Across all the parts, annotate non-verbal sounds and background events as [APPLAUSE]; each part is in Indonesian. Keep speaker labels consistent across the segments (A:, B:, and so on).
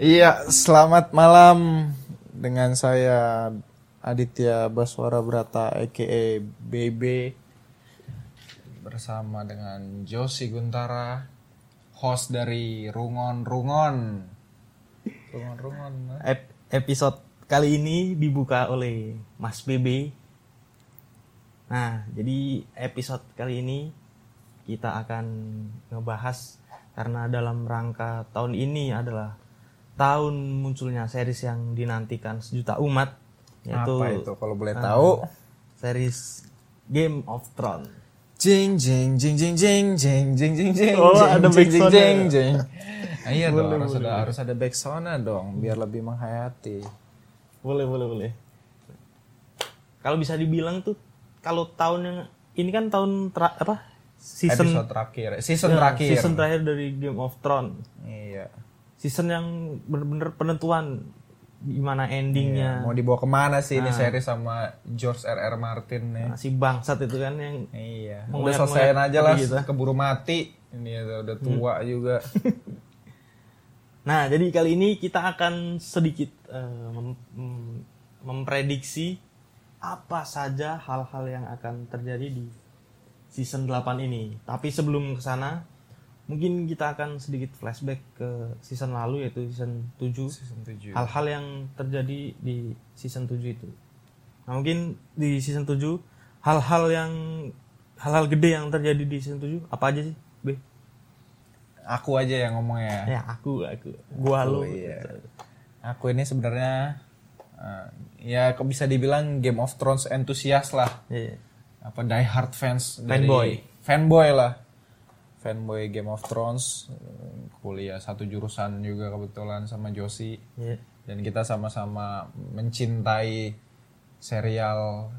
A: Iya, selamat malam dengan saya Aditya Baswara Brata aka BB bersama dengan Josi Guntara host dari Rungon Rungon. Rungon Rungon. eh.
B: Ep- episode kali ini dibuka oleh Mas BB. Nah, jadi episode kali ini kita akan ngebahas karena dalam rangka tahun ini adalah tahun munculnya series yang dinantikan sejuta umat yaitu
A: Apa itu kalau boleh
B: Ah.
A: tahu?
B: series Game of Thrones.
A: Jing jing jing jing jing jing jing jing jing.
B: Oh,
A: jing,
B: ada
A: jing,
B: back
A: jing,
B: sound-nya.
A: jing, jing.
B: [LAUGHS]
A: Ah, Iya dong, harus ada harus ada back sound-nya dong biar lebih menghayati.
B: Boleh, boleh, boleh. Kalau bisa dibilang tuh kalau tahun yang ini kan tahun tera- apa? Season
A: Episode terakhir, eh, season
B: Ya,
A: terakhir.
B: Season terakhir dari Game of Thrones.
A: Iya.
B: Season yang bener-bener penentuan gimana
A: Iya,
B: endingnya.
A: Mau dibawa kemana sih
B: Ah.
A: ini seri sama George R.R. Martin nih?
B: Nah, si bangsat itu kan yang
A: Iya.
B: Mau
A: udah
B: ngeliat-
A: selesaiin
B: ngeliat
A: aja lah,
B: gitu. Hmm.
A: keburu mati. Ini ya, udah, udah tua juga.
B: Nah, jadi kali ini kita akan sedikit eh, mem- mem- memprediksi apa saja hal-hal yang akan terjadi di season 8 ini. Tapi sebelum ke sana, mungkin kita akan sedikit flashback ke season lalu yaitu season 7.
A: Season 7.
B: hal-hal yang terjadi di season 7 itu. Nah, mungkin di season 7 hal-hal yang hal-hal gede yang terjadi di season 7 apa aja sih? Be.
A: Aku aja yang ngomong ya.
B: Ya, aku aku gua lu.
A: iya. Aku ini sebenarnya eh, ya kok bisa dibilang Game of Thrones entusias lah.
B: Iya.
A: Apa die hard fans
B: Fanboy.
A: dari fanboy lah. Fanboy Game of Thrones Eh, kuliah satu jurusan juga kebetulan sama Josie.
B: Iya.
A: dan kita sama-sama mencintai serial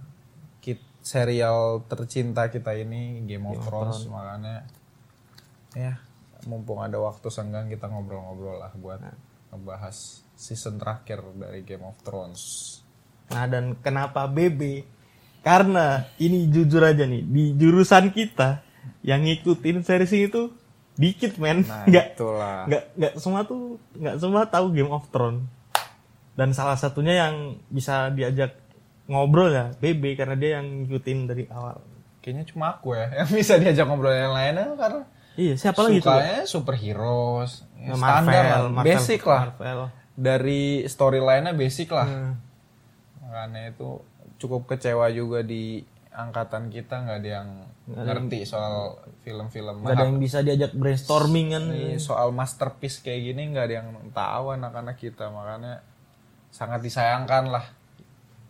A: kit- serial tercinta kita ini Game of Thrones makanya ya mumpung ada waktu senggang kita ngobrol-ngobrol lah buat
B: Nah.
A: ngebahas season terakhir dari Game of Thrones.
B: Nah, dan kenapa BB? Karena ini jujur aja nih, di jurusan kita yang ngikutin series itu dikit men,
A: Nah,
B: nggak
A: itulah.
B: nggak nggak semua tuh nggak semua tahu Game of Thrones dan salah satunya yang bisa diajak ngobrol ya BB karena dia yang ngikutin dari awal
A: Kayaknya cuma aku ya yang [LAUGHS] bisa diajak ngobrol yang lainnya karena
B: iya siapa lagi tuh
A: sukanya superhero
B: Ya,
A: standar lah,
B: Marvel,
A: basic lah.
B: Marvel.
A: Dari storyline-nya basic lah. makanya itu cukup kecewa juga di angkatan kita nggak ada yang ngerti soal film-film
B: nggak ada yang bisa diajak brainstorming kan
A: Ini soal masterpiece kayak gini nggak ada yang tahu anak-anak kita makanya sangat disayangkan lah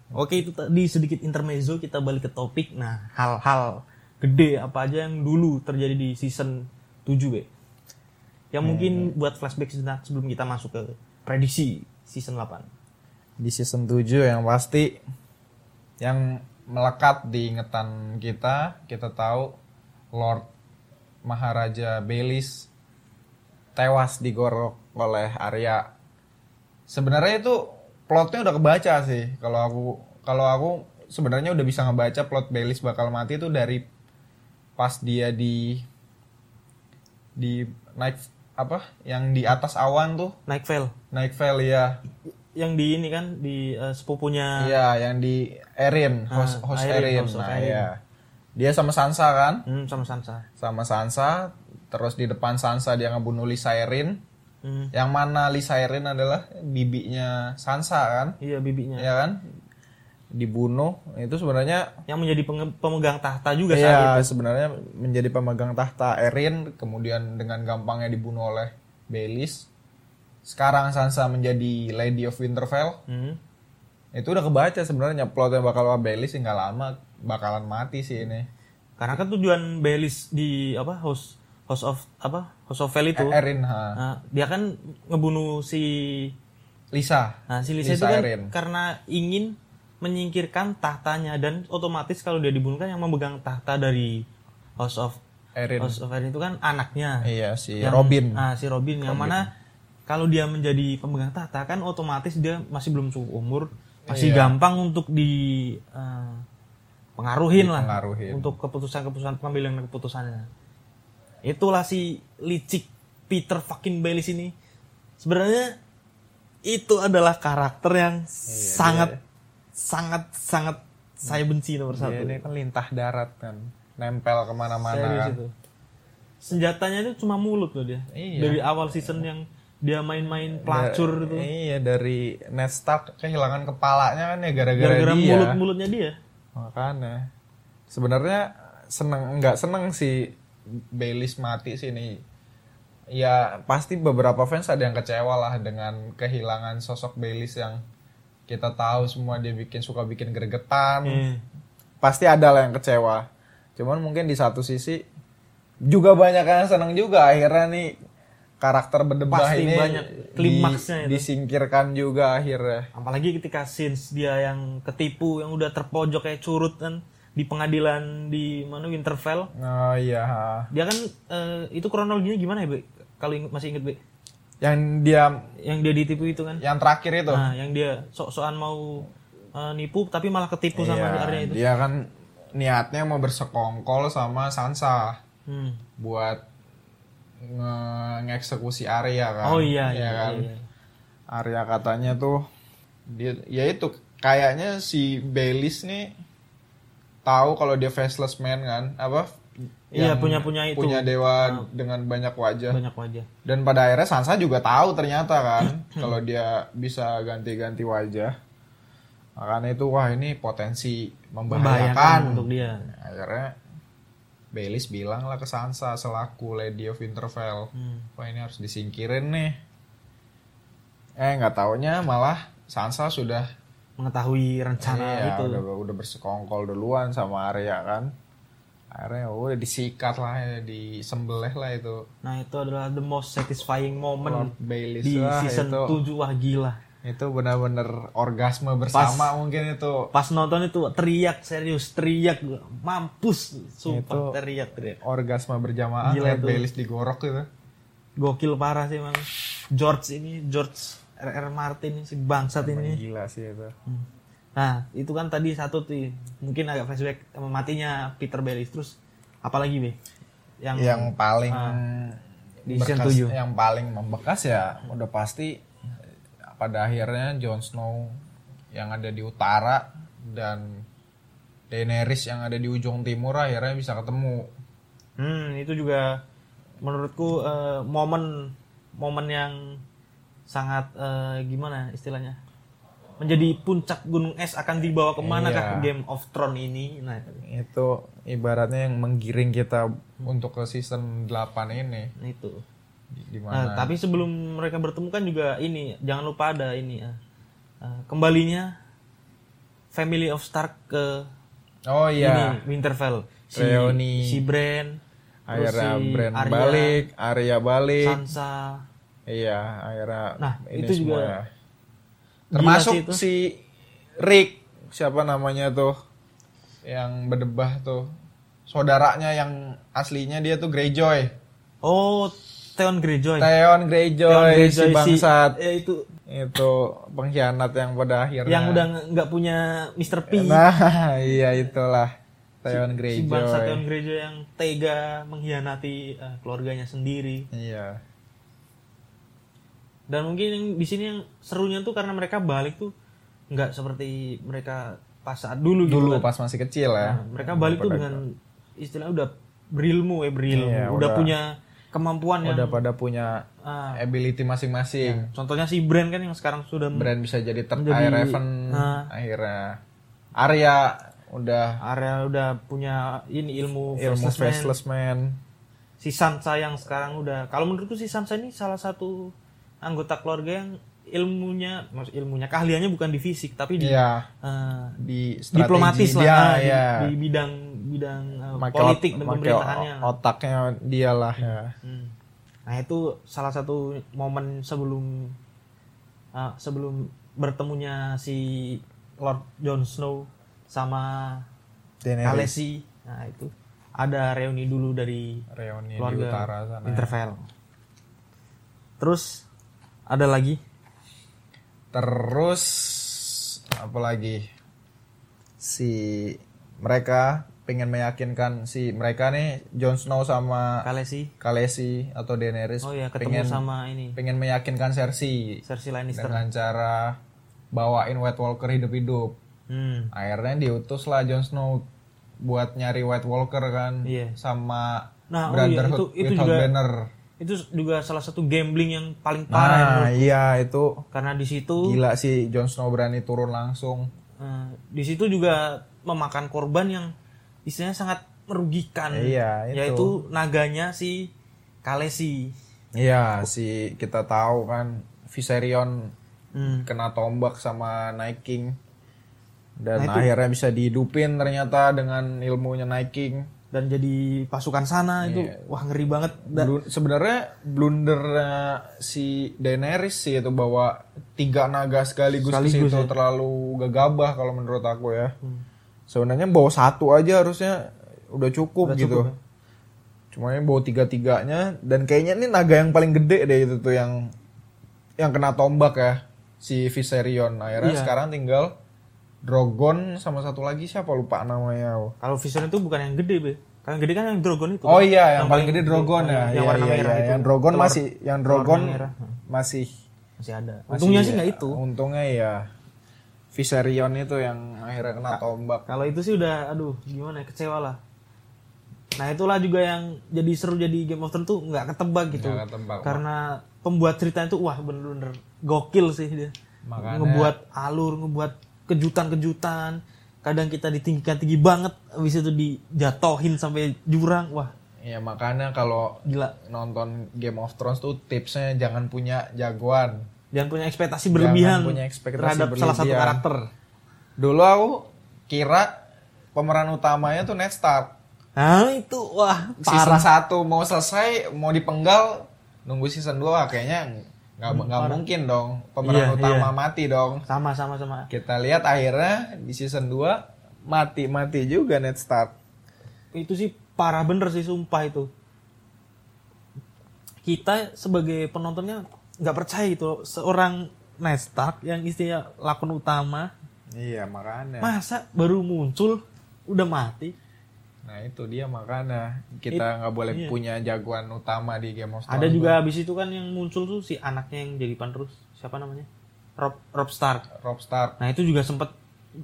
B: oke itu tadi sedikit intermezzo kita balik ke topik nah hal-hal gede apa aja yang dulu terjadi di season 7 B
A: Eh.
B: yang mungkin buat flashback sejenak sebelum kita masuk ke prediksi season 8
A: di season 7 yang pasti yang melekat di ingatan kita kita tahu Lord Maharaja Belis tewas digorok oleh Arya sebenarnya itu plotnya udah kebaca sih kalau aku kalau aku sebenarnya udah bisa ngebaca plot Belis bakal mati itu dari pas dia di di naik apa yang di atas awan tuh
B: naik fail
A: naik Vale ya
B: yang di ini kan di eh, sepupunya
A: Iya, yang di Erin, host,
B: Ah,
A: host
B: Erin,
A: Erin.
B: House of
A: Nah,
B: Erin.
A: iya. Dia sama Sansa kan?
B: Hmm, sama Sansa.
A: Sama Sansa, terus di depan Sansa dia ngebunuh Lisa Erin.
B: Hmm.
A: Yang mana Lisa Erin adalah bibinya Sansa kan?
B: Iya bibinya.
A: Iya kan? Dibunuh. Itu sebenarnya
B: Yang menjadi penge- pemegang tahta juga
A: Iya,
B: saat
A: sebenarnya menjadi pemegang tahta Erin kemudian dengan gampangnya dibunuh oleh Belis. Sekarang Sansa menjadi Lady of Winterfell.
B: Hmm.
A: itu udah kebaca sebenarnya plotnya bakal sama Baelish sih nggak lama bakalan mati sih ini
B: Karena kan tujuan Belis di apa host host of apa host of Veil itu,
A: Erin ha.
B: nah, dia kan ngebunuh si
A: Lisa
B: nah, si Lisa,
A: Lisa
B: itu kan
A: Erin.
B: karena ingin menyingkirkan tahtanya dan otomatis kalau dia dibunuh kan yang memegang tahta dari host of
A: Erin
B: host of Veil itu kan anaknya.
A: iya si
B: Yang-
A: Robin
B: Ah, si Robin, yang mana kalau dia menjadi pemegang tahta kan otomatis dia masih belum cukup umur, masih
A: Iya.
B: gampang untuk di eh, pengaruhin lah
A: Dipengaruhin.
B: untuk keputusan-keputusan pengambilan keputusannya. Itulah si licik Peter fucking Baelish ini. Sebenarnya itu adalah karakter yang
A: Iya,
B: sangat sangat sangat saya benci nomor
A: Dia,
B: satu.
A: dia kan lintah darat kan, nempel kemana-mana
B: Serius
A: kan.
B: itu. Senjatanya itu cuma mulut loh dia.
A: Iya.
B: Dari awal season yang dia main-main pelacur itu.
A: Iya dari Ned Stark kehilangan kepalanya kan ya gara-gara,
B: Gara-gara
A: dia.
B: mulut-mulutnya dia.
A: Makanya sebenarnya seneng nggak seneng sih Baileys mati sini. Ya pasti beberapa fans ada yang kecewa lah dengan kehilangan sosok Baileys yang kita tahu semua dia bikin suka bikin gregetan.
B: Iya.
A: Pasti ada lah yang kecewa. Cuman mungkin di satu sisi juga banyak yang seneng juga akhirnya nih karakter berdebah
B: Pasti
A: ini
B: banyak
A: di-
B: klimaksnya itu.
A: disingkirkan juga akhirnya.
B: Apalagi ketika scenes dia yang ketipu yang udah terpojok kayak curut kan di pengadilan di mana Winterfell.
A: Oh iya.
B: Dia kan eh, itu kronologinya gimana ya, Be? Kalau inget- masih inget, Be?
A: Yang dia
B: Yang dia ditipu itu kan.
A: yang terakhir itu
B: Nah, yang dia sok-sokan mau eh, nipu tapi malah ketipu sama
A: Iya,
B: Arya itu.
A: dia kan niatnya mau bersekongkol sama Sansa
B: Hmm.
A: buat nge- ngeksekusi Arya kan
B: Oh iya,
A: Iya
B: iya,
A: kan?
B: iya, iya.
A: Arya katanya tuh dia ya itu kayaknya si Baileys nih tahu kalau dia faceless man kan apa
B: Iya,
A: Yang
B: punya-punya itu.
A: punya dewa dengan banyak wajah
B: Banyak wajah.
A: dan pada akhirnya Sansa juga tahu ternyata kan [CLEARS THROAT] kalau dia bisa ganti-ganti wajah. Makanya itu wah ini potensi membahayakan.
B: Membahayakan untuk dia.
A: Akhirnya Baileys bilang lah ke Sansa selaku Lady of Winterfell,
B: Hmm.
A: wah ini harus disingkirin nih. Eh nggak taunya malah Sansa sudah
B: Mengetahui rencana
A: iya,
B: itu.
A: udah, udah bersekongkol duluan sama Arya kan. Akhirnya ya udah disikat lah, ya, disembelih lah itu
B: Nah, itu adalah the most satisfying moment
A: Lord Baileys
B: di
A: Wah,
B: season
A: itu.
B: 7 wah gila.
A: itu benar-benar orgasme bersama mungkin itu
B: Pas nonton itu teriak serius, teriak gua. mampus sumpah
A: Itu-
B: teriak teriak.
A: orgasme berjamaah
B: Gila
A: kayak
B: itu.
A: Baileys digorok gitu
B: Gokil parah sih emang. George ini George RR Martin ini, si bangsat ini.
A: gila sih itu
B: Hmm. Nah, itu kan tadi satu tuh mungkin agak flashback sama matinya Peter Baelish terus apalagi be yang,
A: yang paling Ah.
B: di season
A: berkas-
B: tujuh.
A: yang paling membekas ya udah pasti eh, pada akhirnya Jon Snow yang ada di utara dan Daenerys yang ada di ujung timur akhirnya bisa ketemu
B: Hmm, itu juga menurutku eh, momen momen yang sangat eh, gimana istilahnya menjadi puncak gunung es akan dibawa kemana kah
A: Iya.
B: Game of Thrones ini nah
A: itu ibaratnya yang menggiring kita untuk ke season 8 ini
B: Nah, itu
A: Di- di mana
B: nah, tapi sebelum mereka bertemu kan juga ini jangan lupa ada ini eh, eh, kembalinya Family of Stark ke
A: oh iya
B: ini Winterfell si
A: Reuni.
B: si Bran terus
A: akhirnya
B: si
A: brand
B: Arya,
A: balik Arya balik
B: Sansa
A: iya akhirnya
B: Nah,
A: ini
B: itu juga
A: semua ya.
B: gila
A: termasuk
B: sih itu.
A: si Rick siapa namanya tuh yang berdebah tuh saudaranya yang aslinya dia tuh Greyjoy
B: oh Theon Greyjoy
A: Theon
B: Theon
A: Greyjoy, si
B: Greyjoy,
A: bangsat
B: eh, itu
A: itu pengkhianat yang pada akhirnya
B: yang udah nge- nggak punya Mr. P
A: nah [LAUGHS] iya itulah Theon
B: si bangsa
A: Greyjoy
B: Theon Greyjoy yang tega mengkhianati eh, keluarganya sendiri
A: iya
B: dan mungkin yang di sini yang serunya tuh karena mereka balik tuh nggak seperti mereka pas saat dulu, gitu
A: dulu
B: kan.
A: pas masih kecil ya
B: Nah, mereka balik tuh dengan istilahnya udah berilmu eh berilmu
A: Iya,
B: udah,
A: udah-
B: punya kemampuan yang Iya.
A: udah pada punya
B: ah,
A: ability masing-masing
B: Contohnya si Brand kan yang sekarang sudah
A: brand bisa jadi third
B: Menjadi-
A: eye raven
B: Nah.
A: akhirnya Arya udah
B: area udah punya ini ilmu,
A: ilmu
B: faceless man.
A: faceless man,
B: Si Sansa yang sekarang udah kalau menurutku si Sansa ini salah satu anggota keluarga yang ilmunya maksud ilmunya keahliannya bukan di fisik tapi di
A: Iya,
B: eh,
A: di strategi
B: diplomatis
A: dia,
B: lah ah, di-
A: ya.
B: di, bidang bidang eh,
A: Make
B: politik
A: ot-
B: dan
A: make
B: pemerintahannya.
A: otaknya dialah ya
B: Hmm. Nah itu salah satu momen sebelum ah, sebelum bertemunya si Lord Jon Snow sama
A: Daenerys.
B: Kalesi. Nah itu ada reuni dulu dari
A: reuni di
B: keluarga
A: utara sana
B: Winterfell. Terus ada lagi
A: terus apalagi si mereka P pengen meyakinkan si mereka nih Jon Snow sama
B: Khaleesi.
A: Khaleesi atau Daenerys
B: Oh ya, ketemu
A: pengen
B: sama ini
A: pengen meyakinkan Cersei
B: Cersei Lannister.
A: dengan cara bawain White Walker hidup-hidup.
B: Hmm.
A: Akhirnya diutuslah Jon Snow buat nyari White Walker kan
B: Iya.
A: sama
B: Nah, oh iya,
A: Brotherhood
B: itu- itu
A: Without
B: juga-
A: Banner.
B: Itu juga salah satu gambling yang paling parah ya,
A: Nah,
B: bro.
A: iya itu
B: karena di situ
A: gila sih Jon Snow berani turun langsung.
B: eh, di situ juga memakan korban yang istilahnya sangat merugikan.
A: Iya, itu.
B: Yaitu naganya si Kalesi.
A: Iya, si kita tahu kan Viserion
B: Hmm.
A: kena tombak sama Night King dan
B: Nah, itu-
A: akhirnya bisa dihidupin ternyata dengan ilmunya Night King.
B: Dan jadi pasukan sana itu wah ngeri banget. Dan
A: Blun- sebenarnya blunder si Daenerys sih itu bawa tiga naga sekaligus, ya. ke
B: Sekaligus,
A: situ terlalu gegabah kalau menurut aku ya. Sebenarnya bawa satu aja harusnya udah cukup gitu. Cuma ini bawa tiga-tiganya dan kayaknya ini naga yang paling gede deh itu tuh yang yang kena tombak ya si Viserion. Akhirnya sekarang tinggal Drogon sama satu lagi siapa lupa namanya.
B: kalau Vision itu bukan yang gede, Be. Kalau yang gede kan yang Dragon itu.
A: Oh iya, yang, paling gede Drogon ya.
B: yang
A: Iya,
B: warna
A: iya,
B: merah
A: iya.
B: itu.
A: Yang Drogon
B: Telur-
A: masih yang Drogon
B: warna merah.
A: masih
B: Masih ada. Untungnya sih nggak itu.
A: Untungnya ya Viserion itu yang akhirnya kena tombak.
B: Kalau itu sih udah aduh gimana ya, kecewa lah. Nah itulah juga yang jadi seru jadi Game of Thrones tuh nggak ketebak gitu.
A: Nggak ketebak.
B: Karena pembuat cerita itu wah bener-bener gokil sih dia.
A: Makanya-
B: Ngebuat alur, ngebuat kejutan-kejutan. Kadang kita ditinggikan tinggi banget, habis itu dijatohin sampai jurang. Wah,
A: Ya makanya kalau
B: gila.
A: nonton Game of Thrones tuh tipsnya jangan punya jagoan.
B: Jangan punya ekspektasi berlebihan
A: punya ekspektasi
B: terhadap salah satu
A: berlebihan.
B: karakter.
A: Dulu aku kira pemeran utamanya tuh Ned Stark.
B: Nah, itu wah
A: Season
B: parah.
A: 1 mau selesai, mau dipenggal, nunggu season 2 kayaknya nggak nggak mungkin dong
B: Hmm, Iya,
A: pemeran utama
B: iya.
A: mati dong.
B: Sama sama sama.
A: Kita lihat akhirnya di season 2 mati-mati juga Ned Stark.
B: itu sih parah bener sih sumpah itu kita sebagai penontonnya nggak percaya gitu seorang Ned Stark yang istilah lakon utama
A: Iya, makanya.
B: masa baru muncul udah mati
A: Nah, itu dia makanya kita nggak boleh punya jagoan utama di Game of
B: ada
A: Thrones.
B: juga habis itu kan yang muncul tuh si anaknya yang jadi penerus siapa namanya Rob Rob Stark
A: Rob Stark.
B: nah itu juga sempet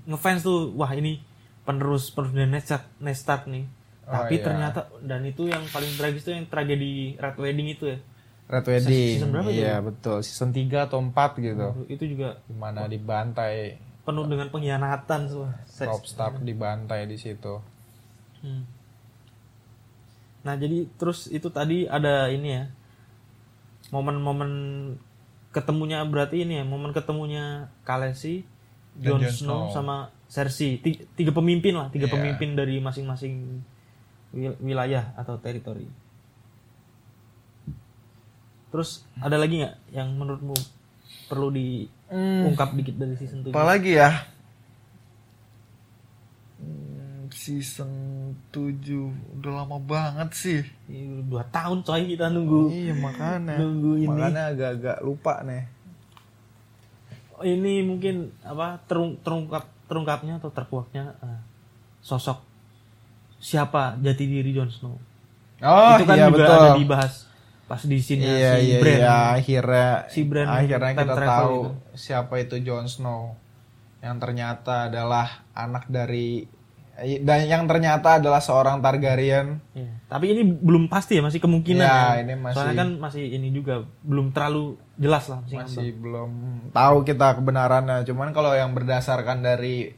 B: ngefans tuh wah ini penerus penerus dari Ned Stark, Ned Stark nih
A: Oh,
B: tapi
A: iya.
B: ternyata dan itu yang paling tragis tuh yang tragedi Red Wedding itu ya
A: Red Wedding.
B: season berapa itu?
A: iya, betul. Season 3 atau 4 gitu.
B: itu juga
A: Dimana dibantai
B: penuh dengan pengkhianatan semua. Se-
A: Rob Stark dibantai di situ.
B: Hmm. Nah jadi terus itu tadi ada ini ya momen-momen ketemunya berarti ini ya momen ketemunya Khaleesi,
A: Dan Jon
B: Jon Snow
A: Snow.
B: sama Cersei Ti- tiga pemimpin lah tiga
A: Iya.
B: pemimpin dari masing-masing wil- wilayah atau teritori. Terus ada lagi nggak yang menurutmu perlu
A: Hmm.
B: diungkap dikit dari season 7?
A: Apalagi ya? Hmm, Season 7 udah lama banget sih.
B: Ih, dua tahun coy kita nunggu
A: Iya, makanya.
B: Nunggu ini.
A: Makanya agak-agak lupa nih.
B: ini mungkin apa terung, terungkap terungkapnya atau terkuaknya eh, sosok siapa jati diri Jon Snow
A: Oh,
B: itu kan
A: iya
B: juga
A: betul.
B: ada dibahas pas di sini
A: iya,
B: si
A: iya,
B: Bran
A: iya. akhirnya
B: Si Bran
A: akhirnya
B: time
A: kita
B: travel gitu.
A: tahu siapa itu Jon Snow yang ternyata adalah anak dari eh, dan yang ternyata adalah seorang Targaryen
B: Iya. tapi ini belum pasti ya masih
A: Iya,
B: kemungkinan ya.
A: ini masih-
B: soalnya kan masih ini juga belum terlalu jelas lah masih ngambang.
A: masih belum tahu kita kebenarannya cuman kalau yang berdasarkan dari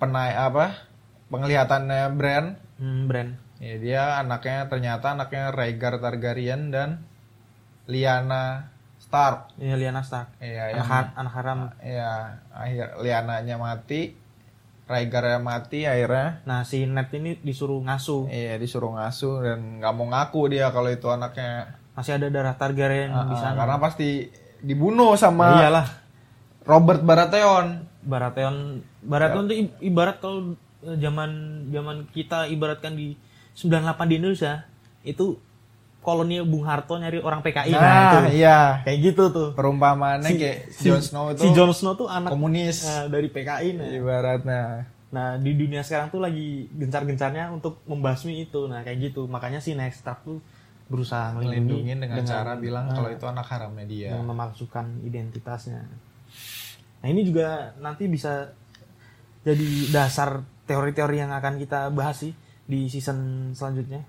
A: penai apa penglihatannya Bran
B: hmm, Bran
A: ya dia anaknya ternyata anaknya Rhaegar Targaryen dan Lyanna Stark
B: ya, Lyanna Stark
A: ya
B: anak,
A: yang
B: har- anak haram
A: ya akhir Liananya mati Rhaegarnya mati akhirnya
B: nah si Ned ini disuruh ngasuh
A: iya disuruh ngasuh dan nggak mau ngaku dia kalau itu anaknya
B: masih ada darah Targaryen
A: Ah,
B: di sana Iya.
A: karena pasti dibunuh sama
B: iyalah
A: Robert Baratheon
B: Baratheon
A: Ya.
B: Baratheon tuh i- ibarat kalau eh, zaman zaman kita ibaratkan di 98 di Indonesia itu koloninya Bung Harto nyari orang PKI nah, itu
A: iya
B: kayak gitu tuh
A: perumpamaannya kayak Jon Snow itu
B: si Jon Snow tuh anak e,
A: komunis Iya.
B: eh, dari PKI nah.
A: ibaratnya
B: Nah, di dunia sekarang tuh lagi gencar-gencarnya untuk membasmi itu. Nah, kayak gitu. Makanya si Next Trap tuh berusaha melindungi
A: melindungi dengan, cara bilang
B: Ah.
A: kalau itu anak haramnya dia.
B: yang memalsukan identitasnya. Nah, ini juga nanti bisa jadi dasar teori-teori yang akan kita bahas sih di season selanjutnya.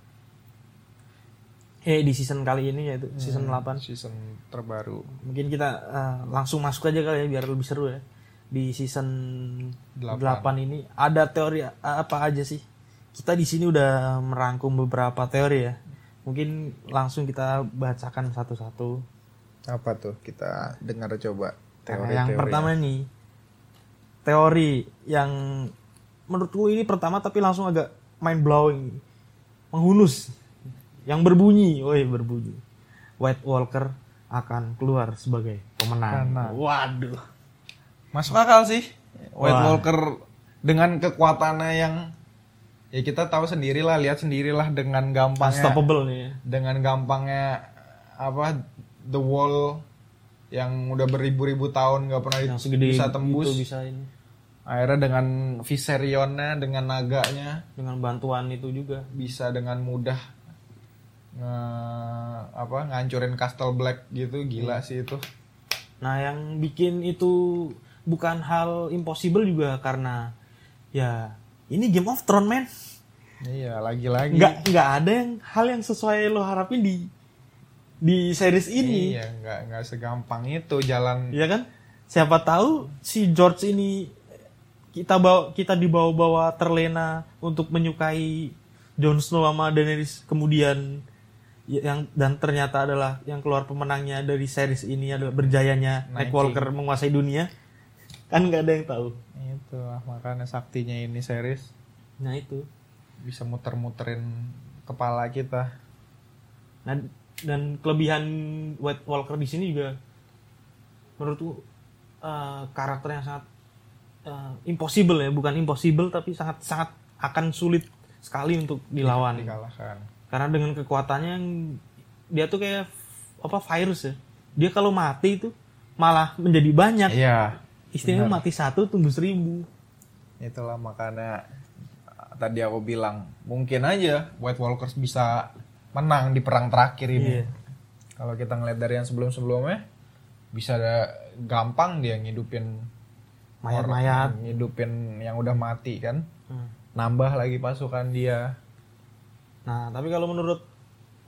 B: Eh, di season kali ini yaitu season 8
A: Season terbaru
B: mungkin kita eh, langsung masuk aja kali ya biar lebih seru ya di season 8,
A: Delapan.
B: ini ada teori a- apa aja sih kita di sini udah merangkum beberapa teori ya mungkin langsung kita bacakan satu-satu
A: apa tuh kita dengar coba
B: Nah, yang pertama
A: ya.
B: nih teori yang menurutku ini pertama tapi langsung agak mind blowing menghunus yang berbunyi woi berbunyi White Walker akan keluar sebagai pemenang
A: Pemenang.
B: waduh
A: masuk akal sih White
B: Wah.
A: Walker dengan kekuatannya yang ya kita tahu sendirilah lihat sendirilah dengan gampangnya
B: unstoppable nih
A: dengan gampangnya apa the wall yang udah beribu-ribu tahun gak pernah
B: yang segede
A: bisa
B: gitu
A: tembus
B: bisa ini
A: akhirnya dengan Viserionnya dengan naganya
B: dengan bantuan itu juga
A: bisa dengan mudah nge- apa ngancurin Castle Black gitu
B: Iya.
A: gila sih itu
B: Nah, yang bikin itu bukan hal impossible juga karena ya ini Game of Thrones men.
A: iya lagi-lagi
B: Nggak nggak ada yang hal yang sesuai lo harapin di di series ini,
A: iya nggak nggak segampang itu jalan
B: ya kan? Siapa tahu si George ini kita bawa kita dibawa-bawa terlena untuk menyukai Jon Snow sama Daenerys kemudian y- yang dan ternyata adalah yang keluar pemenangnya dari series ini adalah berjayanya
A: Night
B: Night Walker menguasai dunia kan nggak ada yang tahu
A: itu lah, makanya saktinya ini series
B: Nah itu.
A: bisa muter-muterin kepala kita
B: Nah dan kelebihan White Walker di sini juga menurutku eh, karakter yang sangat eh, impossible ya, bukan impossible tapi sangat sangat akan sulit sekali untuk
A: Iya,
B: dilawan.
A: dikalahkan
B: Karena dengan kekuatannya yang dia tuh kayak f- apa virus ya. Dia kalau mati itu malah menjadi banyak.
A: iya
B: Istilahnya mati satu tumbuh seribu.
A: itulah makanya uh, tadi aku bilang mungkin aja White Walkers bisa menang di perang terakhir ini
B: Iya.
A: kalau kita ngeliat dari yang sebelum-sebelumnya bisa ada- gampang dia ngidupin
B: Mayat-mayat.
A: ngidupin yang udah mati kan
B: Hmm.
A: nambah lagi pasukan dia
B: Nah, tapi kalau menurut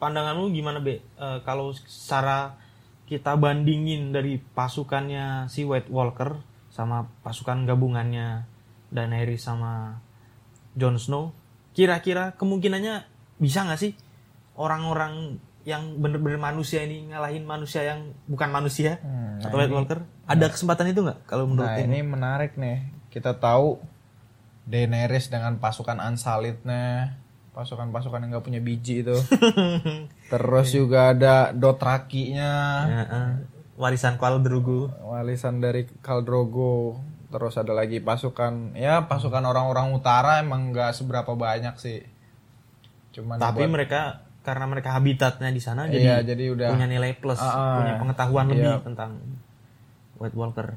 B: pandanganmu gimana, Be? Eh, kalau secara kita bandingin dari pasukannya si White Walker sama pasukan gabungannya Daenerys sama Jon Snow, kira-kira kemungkinannya bisa nggak sih orang-orang yang bener-bener manusia ini ngalahin manusia yang bukan manusia
A: Hmm,
B: atau White Walker? Ada kesempatan itu nggak kalau
A: nah
B: menurut
A: ini
B: ini?
A: menarik nih kita tahu Daenerys dengan pasukan Unsulliednya pasukan-pasukan yang nggak punya biji
B: [LAUGHS]
A: itu
B: Iya.
A: terus juga ada Dothrakinya
B: warisan Khal Drogo.
A: warisan dari Kaldrogo terus ada lagi pasukan ya pasukan orang-orang utara emang nggak seberapa banyak sih cuman
B: Tapi
A: buat-
B: mereka karena mereka habitatnya di sana jadi
A: iya, jadi udah
B: punya nilai plus,
A: Ah, ah.
B: punya pengetahuan lebih
A: Iya.
B: tentang White Walker.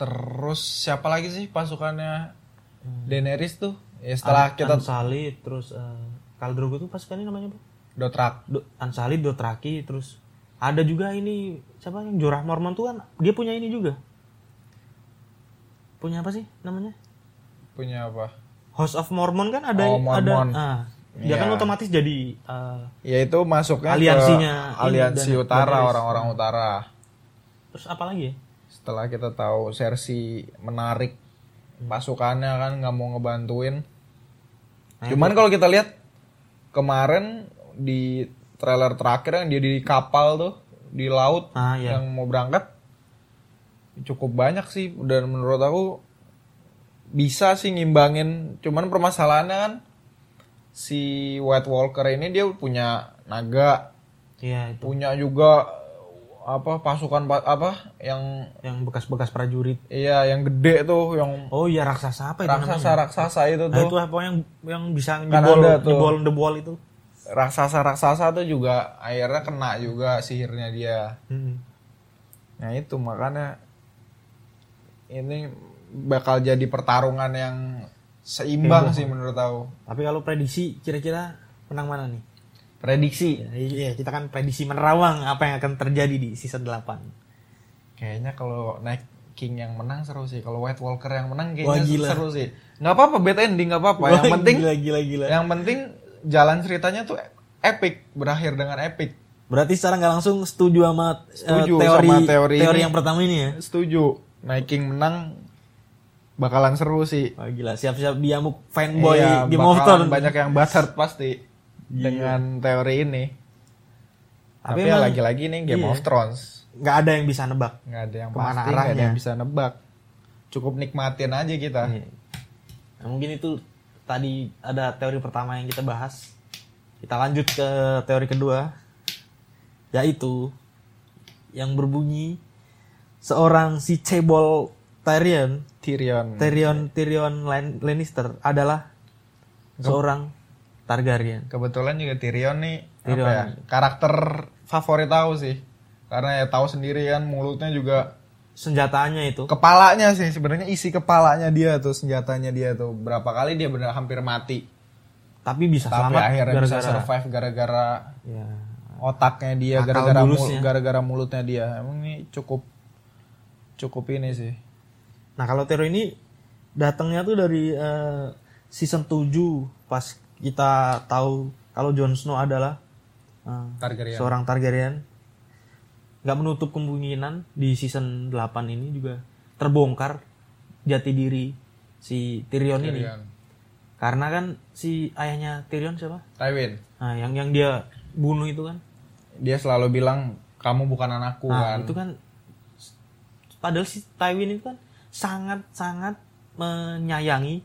A: terus siapa lagi sih pasukannya
B: Hmm.
A: Daenerys tuh ya setelah kita
B: Ansali, terus eh, Khal Drogo itu pasukannya namanya apa?
A: Dotrak
B: Do, Ansali, Dothraki, terus ada juga ini siapa yang Jorah Mormon tuh kan dia punya ini juga. Punya apa sih namanya?
A: punya apa
B: House of Mormon kan ada
A: Oh, Mormon.
B: ada ah, dia
A: Iya.
B: kan otomatis jadi eh,
A: yaitu masuknya ke
B: Aliansinya ini,
A: aliansi
B: dan-
A: utara
B: Daenerys.
A: orang-orang utara
B: terus apa lagi ya?
A: setelah kita tahu Cersei menarik pasukannya kan nggak mau ngebantuin
B: Nah,
A: Cuman kalau kita lihat kemarin di trailer terakhir yang dia di kapal tuh di laut
B: Ah ya.
A: yang mau berangkat cukup banyak sih dan menurut aku bisa sih ngimbangin. Cuman permasalahannya kan si White Walker ini dia punya naga,
B: Iya itu
A: punya juga apa pasukan pa- apa yang
B: yang bekas-bekas prajurit.
A: iya yang gede tuh yang
B: Oh iya raksasa apa itu namanya?
A: raksasa raksasa itu tuh
B: Nah itu apa yang yang bisa
A: Kan
B: jebol
A: ada tuh.
B: jebol debol itu.
A: raksasa-raksasa tuh juga akhirnya kena juga sihirnya dia.
B: Hmm.
A: Nah itu makanya ini bakal jadi pertarungan yang seimbang
B: Seimbang.
A: sih menurut aku.
B: Tapi kalau prediksi kira-kira menang mana nih?
C: Prediksi.
B: Ya, iya, kita kan prediksi menerawang apa yang akan terjadi di season 8.
A: Kayaknya kalau naik King yang menang seru sih. Kalau White Walker yang menang
B: Wah,
A: kayaknya
B: gila.
A: seru sih. Nggak apa-apa bad ending nggak apa-apa. Yang
B: Wah,
A: penting Ya.
B: gila gila gila.
A: yang penting jalan ceritanya tuh epic berakhir dengan epic.
B: Berarti secara nggak langsung setuju sama eh,
A: Setuju
B: teori
A: sama teori ini.
B: yang pertama ini ya.
A: Setuju. Naik King menang bakalan seru sih.
B: Wah, gila, siap-siap diamuk fanboy
A: Iya,
B: Game
A: bakalan
B: of Thrones.
A: banyak yang butthurt pasti
B: Iya.
A: dengan teori ini.
B: Tapi
A: Tapi, ya
B: emang-
A: lagi-lagi nih Game
B: iya.
A: of Thrones
B: Nggak ada yang bisa nebak.
A: nggak ada yang
B: Kemana
A: pasti, nggak ada
B: arahnya.
A: yang bisa nebak. Cukup nikmatin aja kita.
B: Iya. Nah, mungkin itu tadi ada teori pertama yang kita bahas. Kita lanjut ke teori kedua, yaitu yang berbunyi seorang si cebol Tyrion,
A: Tyrion.
B: Tyrion Tyrion Lan- Lannister adalah seorang Targaryen.
A: Kebetulan juga Tyrion nih
B: Tyrion.
A: apa ya, karakter favorit tahu sih. Karena ya tahu sendiri kan mulutnya juga
B: Senjatanya itu
A: kepalanya sih sebenarnya isi kepalanya dia tuh senjatanya dia tuh berapa kali dia benar hampir mati.
B: tapi bisa
A: Tapi
B: selamat
A: akhirnya bisa
B: gara-gara-
A: survive gara-gara
B: Ya,
A: otaknya dia
B: Akal
A: gara-gara mul-
B: bulusnya.
A: gara-gara mulutnya dia. Emang ini cukup cukup ini sih.
B: Nah kalau Tero ini datangnya tuh dari eh, season 7 pas kita tahu kalau Jon Snow adalah eh,
A: Targaryen.
B: seorang Targaryen. Gak menutup kemungkinan di season 8 ini juga terbongkar jati diri si Tyrion, ini.
A: Tyrion.
B: Karena kan si ayahnya Tyrion siapa?
A: Tywin.
B: Nah, yang yang dia bunuh itu kan.
A: Dia selalu bilang kamu bukan anakku
B: Nah,
A: kan.
B: itu kan padahal si Tywin itu kan sangat-sangat menyayangi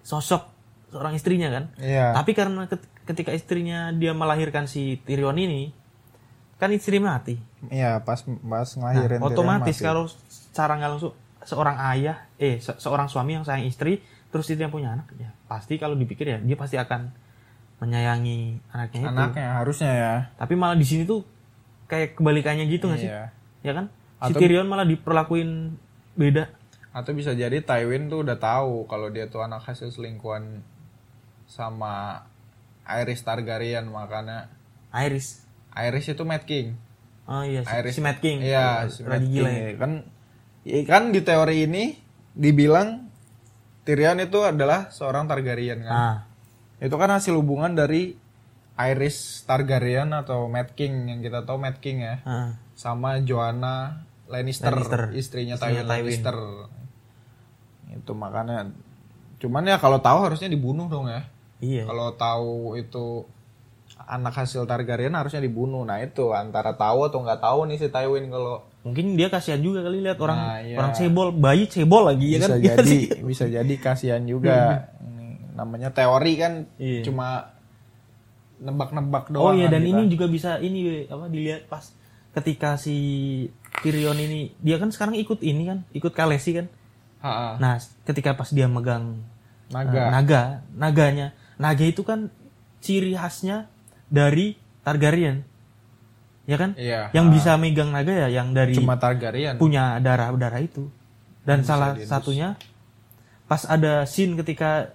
B: sosok seorang istrinya kan.
A: Iya.
B: Tapi karena ket- ketika istrinya dia melahirkan si Tyrion ini kan istri mati.
A: Iya, pas pas
B: Nah,
A: ngelahirin Tyrion
B: otomatis
A: mati.
B: kalau secara nggak langsung seorang ayah eh se- seorang suami yang sayang istri terus istri yang punya anak ya pasti kalau dipikir ya dia pasti akan menyayangi anaknya itu.
A: anaknya harusnya ya.
B: Tapi malah di sini tuh kayak kebalikannya gitu nggak sih?
A: Iya.
B: ya kan? Si
A: Atau-
B: Tyrion malah diperlakuin beda.
A: Atau bisa jadi Tywin tuh udah tahu kalau dia tuh anak hasil selingkuhan sama Iris Targaryen makanya
B: Iris.
A: Iris itu Mad King.
B: Oh iya, si,
A: Iris
B: si Mad King.
A: Iya, si Mad
B: Raja
A: King.
B: gila ya.
A: ya. Kan ya kan di teori ini dibilang Tyrion itu adalah seorang Targaryen kan.
B: Nah,
A: Itu kan hasil hubungan dari Iris Targaryen atau Mad King yang kita tahu Mad King ya.
B: heeh.
A: sama Joanna Lannister,
B: Lannister.
A: istrinya
B: Istrinya
A: Tywin
B: Tywin.
A: Lannister. Itu makanya cuman ya kalau tahu harusnya dibunuh dong ya.
B: iya.
A: Kalau tahu itu anak hasil Targaryen harusnya dibunuh. Nah, itu antara tahu atau nggak tahu nih si Tywin kalau
B: Mungkin dia kasihan juga kali lihat orang
A: Nah, iya.
B: orang cebol, bayi cebol lagi ya
A: bisa
B: kan? [LAUGHS] Iya
A: jadi
B: sih.
A: bisa jadi kasihan juga. Ini namanya teori kan
B: Iya.
A: cuma nebak-nebak doang.
B: Oh iya
A: kan
B: dan
A: kita.
B: ini juga bisa ini we, apa dilihat pas ketika si Tyrion ini dia kan sekarang ikut ini kan, ikut Kalesi kan.
A: Ha-ha.
B: Nah, ketika pas dia megang
A: Ah. naga.
B: Eh, naga, naganya. Naga itu kan ciri khasnya dari Targaryen. Ya kan?
A: Iya.
B: Yang bisa megang naga ya yang dari
A: cuma Targaryen.
B: punya darah-darah itu. Dan salah satunya pas ada scene ketika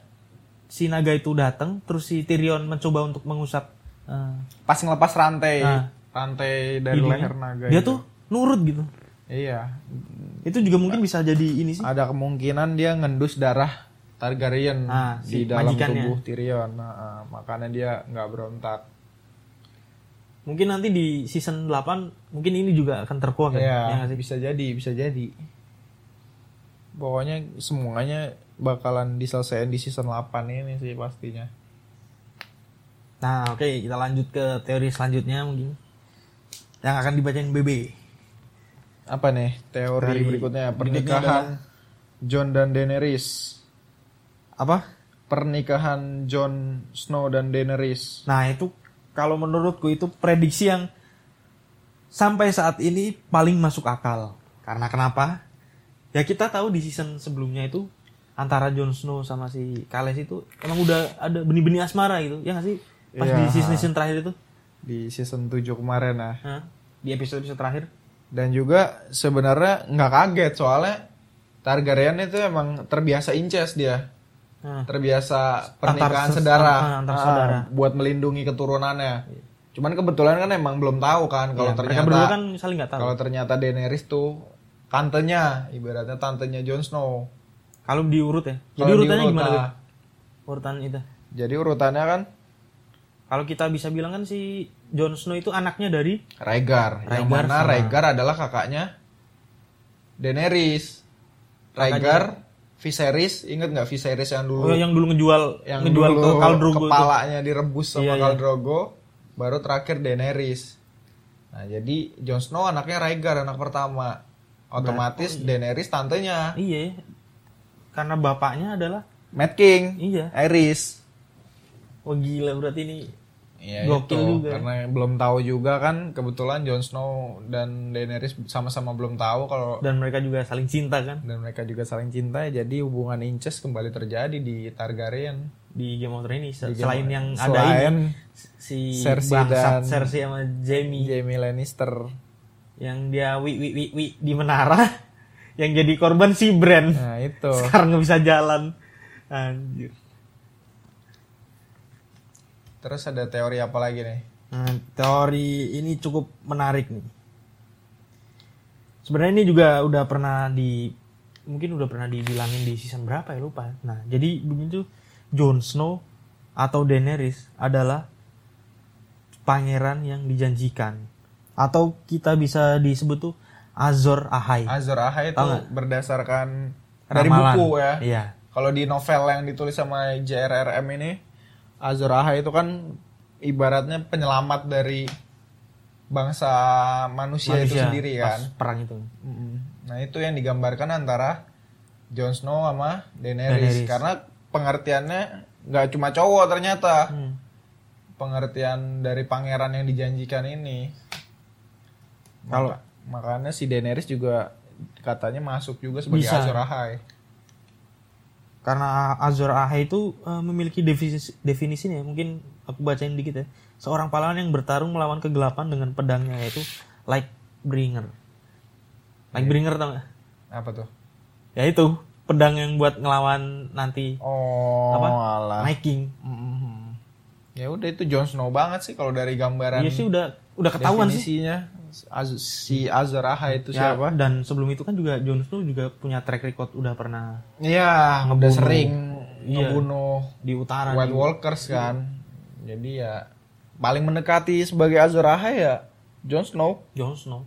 B: si naga itu datang terus si Tyrion mencoba untuk mengusap eh,
A: Pas ngelepas rantai,
B: Nah.
A: rantai dari
B: hidungnya,
A: leher naga.
B: Dia
A: itu.
B: tuh nurut gitu.
A: Iya,
B: Itu juga mungkin bisa jadi ini sih.
A: ada kemungkinan dia ngendus darah Targaryen
B: Ah, si
A: di dalam
B: majikannya.
A: tubuh Tyrion. Nah, ah, makanya dia nggak berontak.
B: Mungkin nanti di season 8 mungkin ini juga akan terkuak kan? Ya
A: Iya,
B: nggak sih?
A: bisa jadi, bisa jadi. Pokoknya semuanya bakalan diselesaikan di season 8 ini sih pastinya.
B: Nah, oke, kita lanjut ke teori selanjutnya mungkin. Yang akan dibacain BB.
A: Apa nih teori
B: Teori
A: berikutnya?
B: berikutnya
A: Pernikahan John dan Daenerys.
B: Apa?
A: Pernikahan John Snow dan Daenerys.
B: Nah, itu kalau menurutku itu prediksi yang sampai saat ini paling masuk akal. Karena kenapa? Ya kita tahu di season sebelumnya itu antara Jon Snow sama si Kales itu emang udah ada benih-benih asmara gitu. Ya nggak sih? Pas
A: Iya.
B: di season-season terakhir itu.
A: Di season 7 kemarin nah.
B: Hah? Di episode-episode terakhir.
A: dan juga sebenarnya nggak kaget soalnya Targaryen itu emang terbiasa inces dia
B: Nah.
A: terbiasa pernikahan
B: ses-
A: saudara,
B: ah, antar saudara.
A: Ah, buat melindungi keturunannya. Cuman kebetulan kan emang belum tahu kan kalau
B: Ya, mereka
A: ternyata
B: berdua kan saling nggak tahu.
A: kalau ternyata Daenerys tuh tantenya, ibaratnya tantenya Jon Snow.
B: Kalau diurut ya. Jadi
A: Kalau
B: urutannya
A: diurut,
B: gimana?
A: ah.
B: Beb? Urutan itu.
A: Jadi urutannya kan
B: Kalau kita bisa bilang kan si Jon Snow itu anaknya dari
A: Rhaegar, yang
B: Rhaegar
A: mana
B: sama-
A: Rhaegar adalah kakaknya Daenerys. Rhaegar, Viserys, inget nggak Viserys yang dulu
B: oh, yang dulu ngejual
A: yang
B: ngejual
A: dulu
B: ke Khal Drogo itu.
A: kepalanya direbus sama
B: Iya, iya.
A: Khal Drogo, baru terakhir Daenerys. Nah, jadi Jon Snow anaknya Rhaegar anak pertama. Otomatis Daenerys tantenya.
B: Iya. Karena bapaknya adalah
A: Mad King,
B: iya.
A: Aerys.
B: Oh gila berarti ini
A: Iya itu.
B: Gokil juga. ya.
A: Karena belum tahu juga kan kebetulan Jon Snow dan Daenerys sama-sama belum tahu kalau
B: dan mereka juga saling cinta kan
A: dan mereka juga saling cinta jadi hubungan inces kembali terjadi di Targaryen.
B: di Game of Thrones ini Se-
A: Di Game
B: selain
A: of-
B: yang ada ini
A: selain
B: si
A: Cersei
B: bangsat
A: dan-
B: Cersei sama Jaime
A: Jaime Lannister.
B: yang dia wi wi wi wi di menara [LAUGHS] yang jadi korban si Bran
A: Nah, itu.
B: sekarang nggak bisa jalan anjir
A: Terus ada teori apa lagi nih?
B: Nah, teori ini cukup menarik nih. Sebenarnya ini juga udah pernah di mungkin udah pernah dibilangin di season berapa ya lupa. Nah, jadi begitu Jon Snow atau Daenerys adalah pangeran yang dijanjikan atau kita bisa disebut tuh Azor Ahai.
A: Azor Ahai itu
B: Tahu nggak?
A: berdasarkan dari
B: Ramalan.
A: buku ya.
B: Iya.
A: Kalau di novel yang ditulis sama JRRM ini, Azor Ahai itu kan ibaratnya penyelamat dari bangsa manusia, itu
B: Manusia
A: sendiri
B: pas
A: kan.
B: perang itu.
A: Mm-mm. Nah itu yang digambarkan antara Jon Snow sama Daenerys,
B: Daenerys.
A: karena pengertiannya nggak cuma cowok ternyata
B: Hmm.
A: pengertian dari pangeran yang dijanjikan ini.
B: Kalau-
A: Maka- makanya si Daenerys juga katanya masuk juga sebagai
B: Bisa.
A: Azor Ahai.
B: karena Azor Ahai itu eh, memiliki definisi definisinya mungkin aku bacain dikit ya seorang pahlawan yang bertarung melawan kegelapan dengan pedangnya yaitu Lightbringer
A: Iya.
B: Lightbringer tau gak?
A: Apa tuh?
B: ya itu pedang yang buat ngelawan nanti
A: Oh,
B: Apa?
A: alah.
B: Night King
A: Mhm. Ya udah itu Jon Snow banget sih kalau dari gambaran
B: Iya sih udah udah ketahuan sih
A: definisinya Az- si Azor Ahai itu
B: Ya,
A: siapa?
B: dan sebelum itu kan juga Jon Snow juga punya track record udah pernah
A: Iya, udah
B: Ngebunuh.
A: sering
B: Iya.
A: ngebunuh
B: di utara
A: White
B: nih.
A: Walkers kan. Jadi ya paling mendekati sebagai Azor Ahai ya Jon Snow
B: Jon Snow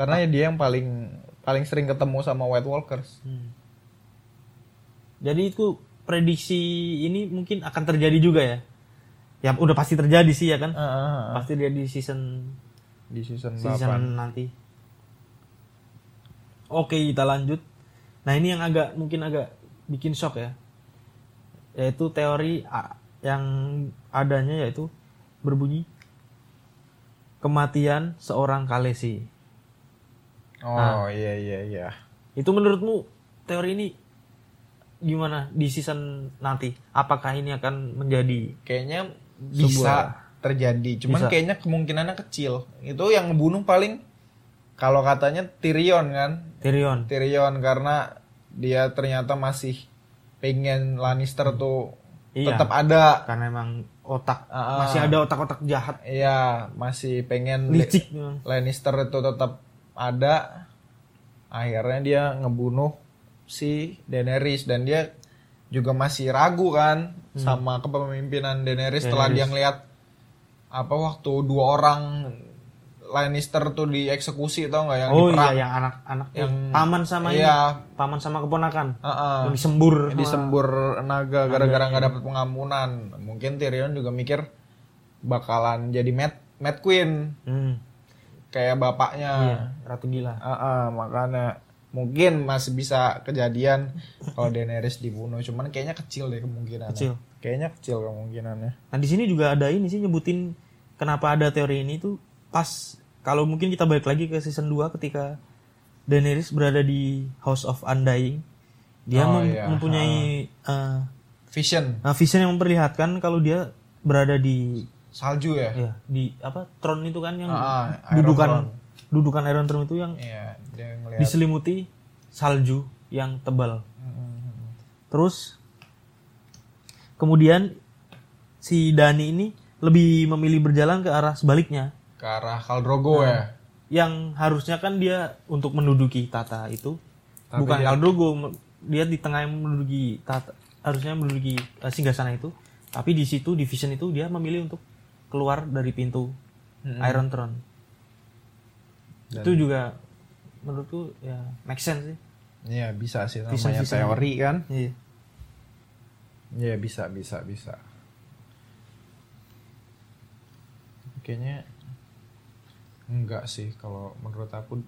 A: karena ya dia yang paling paling sering ketemu sama White Walkers.
B: Hmm. Jadi itu prediksi ini mungkin akan terjadi juga ya. Ya udah pasti terjadi sih ya kan.
A: Ah, ah, ah.
B: Pasti dia di season
A: Di season,
B: season nanti. Oke, kita lanjut. Nah, ini yang agak mungkin agak bikin shock ya. Yaitu teori a- yang adanya yaitu berbunyi kematian seorang Kalesi.
A: 8. Oh
B: Ah.
A: iya iya iya.
B: Itu menurutmu teori ini gimana di season nanti? Apakah ini akan menjadi
A: Kayaknya bisa terjadi, cuman
B: Bisa.
A: kayaknya kemungkinannya kecil. Itu yang ngebunuh paling kalau katanya Tyrion kan,
B: Tyrion?
A: Tyrion karena dia ternyata masih pengen Lannister tuh
B: Iya.
A: tetap ada.
B: Karena emang otak
A: Ah, ah.
B: masih ada otak-otak jahat
A: Iya, masih pengen
B: licik.
A: Lannister itu tetap ada. Akhirnya dia ngebunuh si Daenerys dan dia juga masih ragu kan
B: Hmm.
A: sama kepemimpinan Daenerys setelah dia ngeliat apa waktu dua orang Lannister tuh dieksekusi tau nggak yang
B: Oh
A: diperang.
B: iya yang anak-anak yang
A: Yang-
B: paman sama ini,
A: Iya.
B: paman sama keponakan.
A: Heeh.
B: Yang disembur. iya.
A: Yang disembur naga gara-gara nggak dapat pengampunan. Mungkin Tyrion juga mikir bakalan jadi Mad Mad Queen
B: Hmm,
A: kayak bapaknya.
B: iya, ratu gila.
A: Ah, ah, makanya mungkin masih bisa kejadian kalau Daenerys dibunuh. Cuman kayaknya kecil deh kemungkinannya.
B: Kecil.
A: Kayaknya kecil kemungkinannya.
B: Nah, di sini juga ada ini sih nyebutin kenapa ada teori ini tuh pas kalau mungkin kita balik lagi ke season 2 ketika Daenerys berada di House of Undying. Dia
A: Oh,
B: mem-
A: iya. Ah.
B: mempunyai eh,
A: Vision,
B: Nah, vision yang memperlihatkan kalau dia berada di
A: salju ya.
B: ya, di apa tron itu kan yang
A: Ah, ah, Iron
B: dudukan
A: Throne.
B: dudukan Iron Throne itu yang
A: Iya, dia ngelihat.
B: diselimuti salju yang tebal.
A: Mm, mm, mm.
B: Terus kemudian si Dani ini lebih memilih berjalan ke arah sebaliknya
A: ke arah Kaldrogo ya.
B: yang harusnya kan dia untuk menduduki tata itu
A: Tapi
B: bukan
A: dia-
B: Kaldrogo me- dia di tengah yang menduduki tata harusnya menduduki eh, singgasana itu tapi di situ division itu dia memilih untuk keluar dari pintu
A: Hmm.
B: Iron Throne itu juga menurutku ya make sense sih
A: Iya bisa sih namanya
B: Bisa, bisa.
A: teori kan.
B: iya
A: Iya bisa bisa bisa. Kayaknya enggak sih kalau menurut aku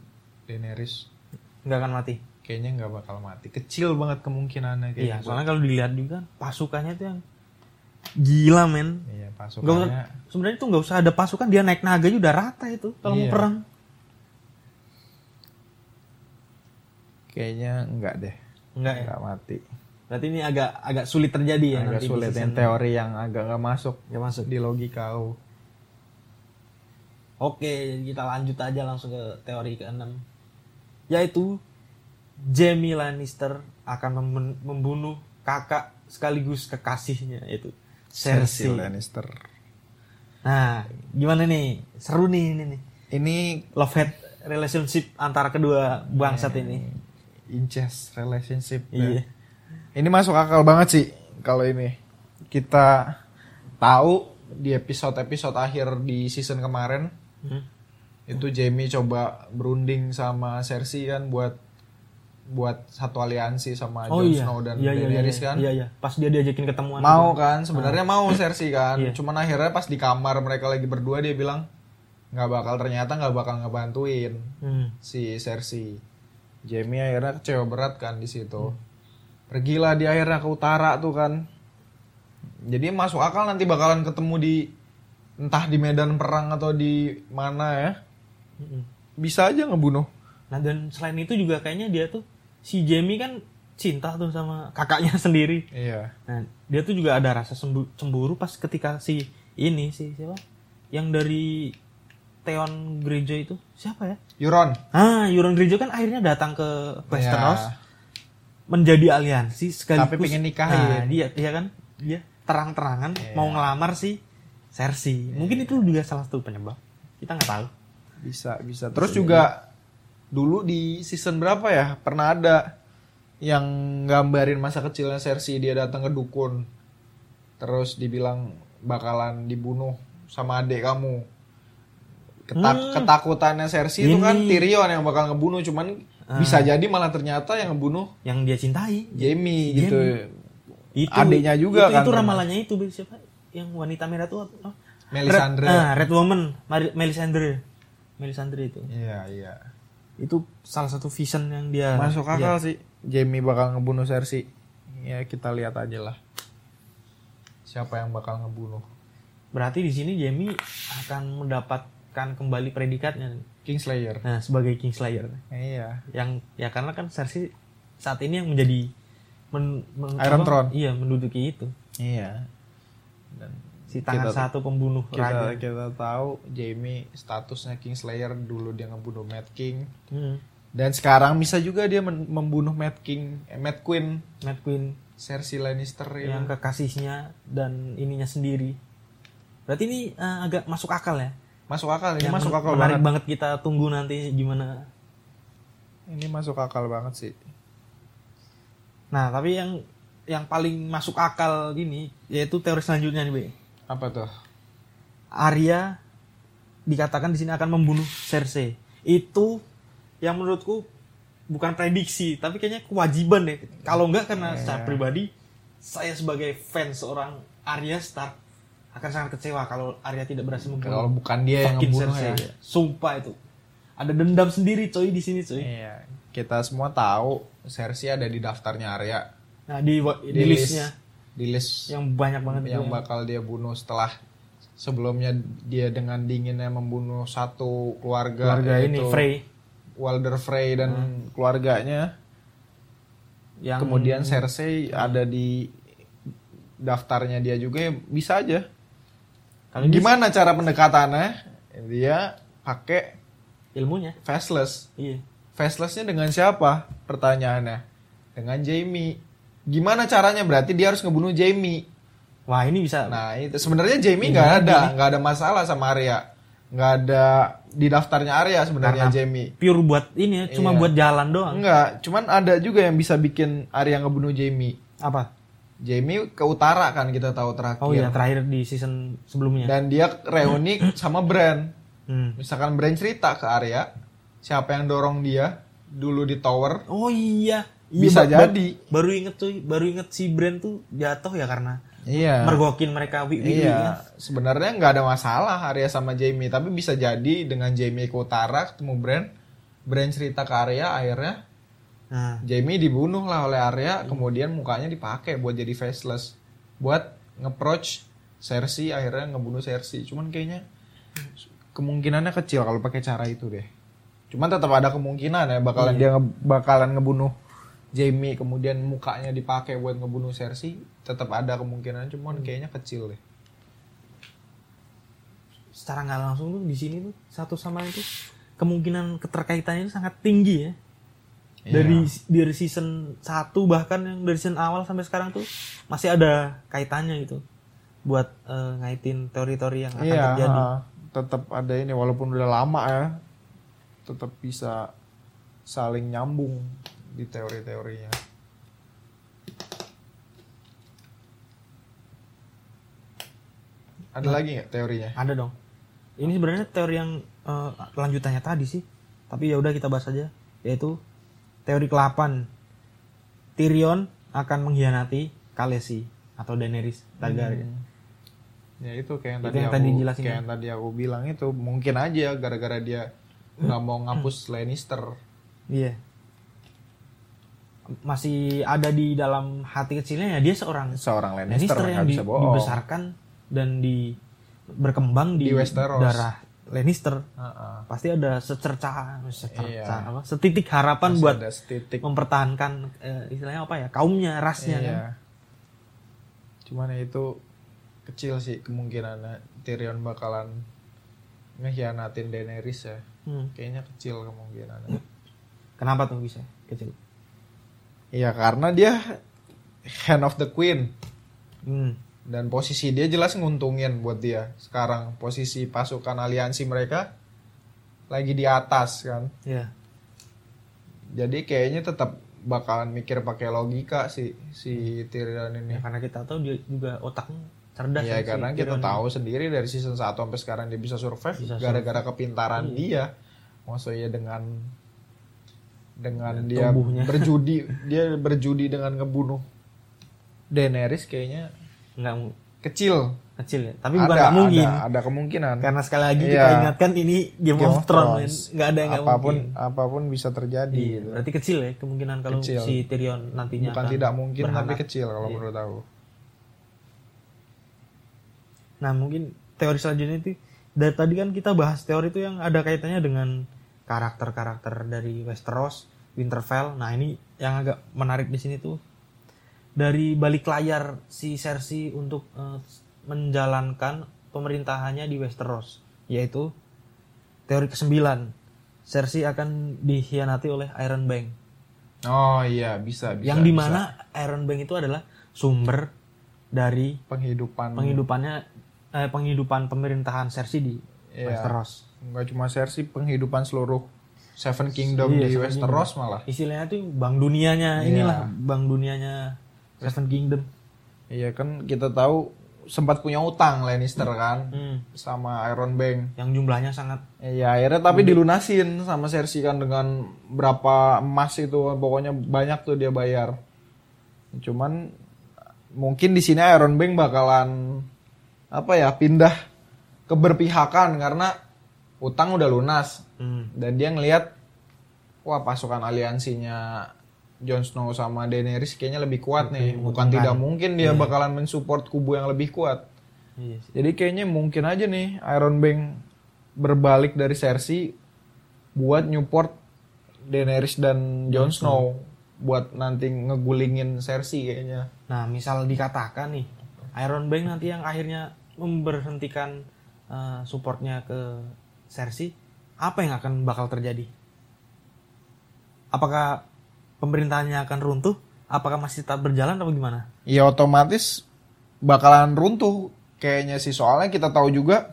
A: Daenerys
B: nggak akan mati
A: kayaknya nggak bakal mati. Kecil banget kemungkinannya gitu.
B: iya
A: kayaknya.
B: soalnya kalau dilihat juga pasukannya itu yang gila men
A: Iya,
B: Nggak usah-
A: pasukannya
B: sebenarnya itu nggak usah ada pasukan dia naik naga aja udah rata itu kalau
A: Iya.
B: mau perang
A: kayaknya enggak deh.
B: enggak ya
A: Enggak mati.
B: berarti ini agak agak sulit terjadi ya
A: agak
B: nanti di
A: sulit
B: season-
A: yang teori yang agak nggak masuk
B: Nggak masuk
A: di logika aku.
B: oke jadi kita lanjut aja langsung ke teori keenam yaitu Jamie Lannister akan memben- membunuh kakak sekaligus kekasihnya yaitu Cersei.
A: Cersei Lannister.
B: Nah, gimana nih? Seru nih ini nih.
A: Ini
B: Love hate relationship antara kedua bangsat
A: Eh,
B: ini.
A: incest relationship. ya.
B: Iya.
A: Ini masuk akal banget sih kalau ini. Kita tahu di episode-episode akhir di season kemarin
B: Hmm.
A: itu Jamie coba berunding sama Cersei kan buat buat satu aliansi sama
B: Oh
A: Jon
B: iya.
A: Snow dan
B: iya, iya,
A: Daenerys
B: iya,
A: kan.
B: Iya, iya. Pas dia diajakin ketemuan.
A: Mau kan sebenarnya mau Cersei kan.
B: Iya.
A: Cuman akhirnya pas di kamar mereka lagi berdua dia bilang nggak bakal ternyata nggak bakal ngebantuin
B: Hmm.
A: si Cersei. Jamie akhirnya kecewa berat kan di situ.
B: Hmm.
A: Pergilah dia akhirnya ke utara tuh kan. Jadi masuk akal nanti bakalan ketemu di entah di medan perang atau di mana ya.
B: Mm-mm.
A: Bisa aja ngebunuh.
B: Nah, dan selain itu juga kayaknya dia tuh si Jamie kan cinta tuh sama kakaknya [LAUGHS] sendiri.
A: Iya.
B: Nah, dia tuh juga ada rasa sembu- cemburu pas ketika si ini si siapa? Yang dari Theon Greyjoy itu siapa ya?
A: Euron.
B: Ah, Euron Greyjoy kan akhirnya datang ke Westeros.
A: Iya.
B: menjadi aliansi sekaligus
A: Tapi pengen nikahin. Iya.
B: Nah, dia dia kan dia terang-terangan mau ngelamar si Cersei. Mungkin itu juga salah satu penyebab. Kita nggak tahu.
A: Bisa, bisa. Terus juga dulu di season berapa ya? Pernah ada yang gambarin masa kecilnya Cersei dia datang ke dukun. Terus dibilang bakalan dibunuh sama adik kamu. Ketak ketakutannya Cersei itu kan Tyrion yang bakal ngebunuh, cuman bisa jadi malah ternyata yang ngebunuh
B: Yang dia cintai
A: Jaime gitu.
B: itu
A: Adiknya juga
B: itu,
A: kan
B: Itu
A: pernah.
B: ramalannya itu Bil. siapa? Yang wanita merah tuh apa? Oh,
A: Melisandre.
B: Red, ah, Red Woman, Mar- Melisandre. Melisandre itu.
A: Iya, iya.
B: Itu salah satu vision yang dia
A: Masuk akal
B: iya.
A: sih. Jamie bakal ngebunuh Cersei. Ya kita lihat aja lah. Siapa yang bakal ngebunuh?
B: Berarti di sini Jamie akan mendapatkan kembali predikatnya nih.
A: Kingslayer.
B: nah, sebagai Kingslayer.
A: Iya.
B: yang ya karena kan Cersei saat ini yang menjadi men- men-
A: Iron
B: apa?
A: Throne.
B: iya menduduki itu
A: Iya.
B: si tangan satu pembunuh raja
A: Kita kita tahu Jamie statusnya Kingslayer dulu dia ngebunuh Mad King
B: hmm.
A: dan sekarang bisa juga dia men- membunuh Mad King, eh, Mad Queen,
B: Mad Queen
A: Cersei Lannister
B: yang
A: ya.
B: kekasihnya dan ininya sendiri berarti ini eh, agak masuk akal ya
A: Masuk akal ini
B: Yang
A: masuk akal
B: menarik
A: banget.
B: banget kita tunggu nanti gimana
A: Ini masuk akal banget sih.
B: nah tapi yang yang paling masuk akal ini yaitu teori selanjutnya nih Be.
A: Apa tuh?
B: Arya dikatakan di sini akan membunuh Cersei. Itu yang menurutku bukan prediksi, tapi kayaknya kewajiban deh. Kalau enggak karena secara pribadi saya sebagai fans seorang Arya Stark akan sangat kecewa kalau Arya tidak berhasil
A: Kalau
B: membunuh
A: bukan dia yang
B: fucking
A: ngebunuh
B: Cersei.
A: ya.
B: Sumpah itu. Ada dendam sendiri coy di sini coy.
A: Iya, kita semua tahu Cersei ada di daftarnya Arya.
B: Nah, di, di, listnya
A: di list yang,
B: yang banyak banget itu ya. yang-
A: bakal dia bunuh setelah sebelumnya dia dengan dinginnya membunuh satu keluarga,
B: keluarga ini
A: yaitu
B: Frey Hmm.
A: Walder Frey dan keluarganya.
B: yang
A: Kemudian Cersei ada di daftarnya dia juga ya bisa aja.
B: kalau ini
A: Gimana cara pendekatannya? Dia pakai
B: ilmunya.
A: faceless.
B: Iya.
A: Facelessnya dengan siapa? Pertanyaannya. Dengan Jamie. Gimana caranya? Berarti dia harus ngebunuh Jamie.
B: Wah ini bisa.
A: Nah itu sebenarnya Jamie nggak ada nggak ada masalah sama Arya, nggak ada di daftarnya Arya sebenarnya
B: Karena-
A: Jamie.
B: Pure buat ini ya, cuma
A: Iya.
B: buat jalan doang.
A: Enggak, cuman ada juga yang bisa bikin Arya ngebunuh Jamie.
B: Apa?
A: Jamie ke utara kan kita tahu terakhir.
B: Oh iya terakhir di season sebelumnya.
A: Dan dia reuni sama Bran.
B: Hmm.
A: Misalkan Bran cerita ke Arya, siapa yang dorong dia dulu di tower,
B: Oh iya. Iya,
A: bisa
B: ba- ba-
A: jadi.
B: baru inget tuh, baru inget si Brand tuh jatuh ya karena
A: Iya.
B: mergokin mereka wi ya. wi
A: Iya, sebenarnya nggak ada masalah Arya sama Jamie, tapi bisa jadi dengan Jamie ke utara ketemu Bran, Bran cerita ke Arya, akhirnya
B: Nah,
A: Jamie dibunuh lah oleh Arya, kemudian mukanya dipakai buat jadi faceless, buat ngeproach Cersei, akhirnya ngebunuh Cersei. Cuman kayaknya kemungkinannya kecil kalau pakai cara itu deh. Cuman tetap ada kemungkinan ya bakalan dia nge- bakalan ngebunuh Jamie, kemudian mukanya dipakai buat ngebunuh Cersei, tetap ada kemungkinan, cuman kayaknya kecil deh.
B: secara nggak langsung tuh di sini tuh satu sama lain tuh kemungkinan keterkaitannya itu sangat tinggi ya.
A: Iya.
B: Dari dari season 1 bahkan yang dari season awal sampai sekarang tuh masih ada kaitannya gitu buat eh, ngaitin teori-teori yang akan
A: Iya,
B: terjadi.
A: ha, tetap ada ini walaupun udah lama ya, tetap bisa saling nyambung di teori-teorinya.
B: Nah.
A: Ada lagi nggak teorinya?
B: Ada dong. Ini sebenarnya teori yang eh, lanjutannya tadi sih. Tapi ya udah kita bahas aja yaitu teori ke-8. Tyrion akan mengkhianati Khaleesi atau Daenerys Targaryen.
A: Hmm. Ya itu kayak yang tadi
B: Itu yang
A: aku
B: tadi jelasin
A: kayak
B: ya.
A: yang tadi aku bilang itu mungkin aja gara-gara dia nggak
B: Hmm.
A: mau ngapus Lannister.
B: Iya. Masih ada di dalam hati kecilnya ya dia seorang
A: Seorang Lannister,
B: Lannister yang
A: nggak
B: di-
A: bisa bohong.
B: dibesarkan dan di berkembang di,
A: Di Westeros.
B: darah Lannister.
A: Ha-ha.
B: Pasti ada secerca, secerca
A: Iya.
B: apa? Setitik harapan
A: Masih
B: buat
A: ada setitik
B: mempertahankan eh, istilahnya apa ya kaumnya rasnya
A: iya.
B: kan
A: Cuman ya itu kecil sih kemungkinannya Tyrion bakalan ngehianatin Daenerys ya.
B: Hmm.
A: Kayaknya kecil kemungkinannya.
B: kenapa tuh bisa kecil
A: Iya karena dia hand of the queen
B: hmm.
A: dan posisi dia jelas nguntungin buat dia. Sekarang posisi pasukan aliansi mereka lagi di atas kan.
B: ya
A: Jadi kayaknya tetap bakalan mikir pakai logika sih si Tyrion ini.
B: ya karena kita tahu dia juga otaknya cerdas
A: Iya
B: ya, si
A: karena kita
B: Tyrion.
A: tahu sendiri dari season 1 sampai sekarang dia bisa survive
B: Bisa Iya.
A: gara-gara kepintaran dia. Maksudnya dengan dengan dia
B: tubuhnya.
A: berjudi, dia berjudi dengan ngebunuh Daenerys kayaknya
B: nggak mu-
A: kecil.
B: kecil ya tapi bukan
A: Ada,
B: nggak mungkin
A: ada ada kemungkinan.
B: karena sekali lagi
A: Iya.
B: kita ingatkan ini Game,
A: Game
B: of
A: of
B: Thrones
A: Thrones.
B: men. nggak ada yang nggak
A: apapun
B: mungkin
A: apapun bisa terjadi
B: Iya,
A: gitu.
B: berarti kecil ya kemungkinan kalau
A: Kecil.
B: si Tyrion nantinya
A: Bukan
B: akan
A: tidak mungkin tapi
B: beranak.
A: kecil kalau
B: Iya.
A: menurut aku.
B: Nah mungkin teori selanjutnya itu dari tadi kan kita bahas teori itu yang ada kaitannya dengan karakter-karakter dari Westeros, Winterfell. Nah ini yang agak menarik di sini tuh dari balik layar si Cersei untuk eh, menjalankan pemerintahannya di Westeros, yaitu teori kesembilan. Cersei akan dikhianati oleh Iron Bank,
A: Oh iya, bisa bisa.
B: yang
A: bisa.
B: dimana Iron Bank itu adalah sumber dari
A: penghidupan
B: Hmm. penghidupannya eh, penghidupan pemerintahan Cersei di
A: Iya.
B: Westeros.
A: nggak cuma Cersei, penghidupan seluruh Seven Kingdom
B: Iya,
A: di
B: Seven
A: Westeros malah.
B: Istilahnya tuh bank dunianya
A: Iya.
B: inilah bank dunianya Seven Kingdom.
A: Iya kan kita tahu sempat punya utang Lannister kan sama Iron Bank.
B: Yang jumlahnya sangat
A: Iya akhirnya tapi dilunasin sama Cersei kan dengan berapa emas itu pokoknya banyak tuh dia bayar. Cuman mungkin di sini Iron Bank bakalan apa ya pindah keberpihakan karena utang udah lunas
B: hmm,
A: dan dia ngelihat wah pasukan aliansinya Jon Snow sama Daenerys kayaknya lebih Iya. kuat nih bukan tidak mungkin dia bakalan mensupport kubu yang lebih kuat
B: iya sih.
A: jadi kayaknya mungkin aja nih Iron Bank berbalik dari Cersei buat Newport Daenerys dan Jon Snow buat nanti ngegulingin Cersei kayaknya
B: Nah, misal dikatakan nih Iron Bank nanti yang akhirnya memberhentikan eh, supportnya ke Cersei, apa yang akan bakal terjadi? Apakah pemerintahannya akan runtuh? Apakah masih tetap berjalan atau gimana?
A: ya otomatis bakalan runtuh kayaknya sih soalnya kita tahu juga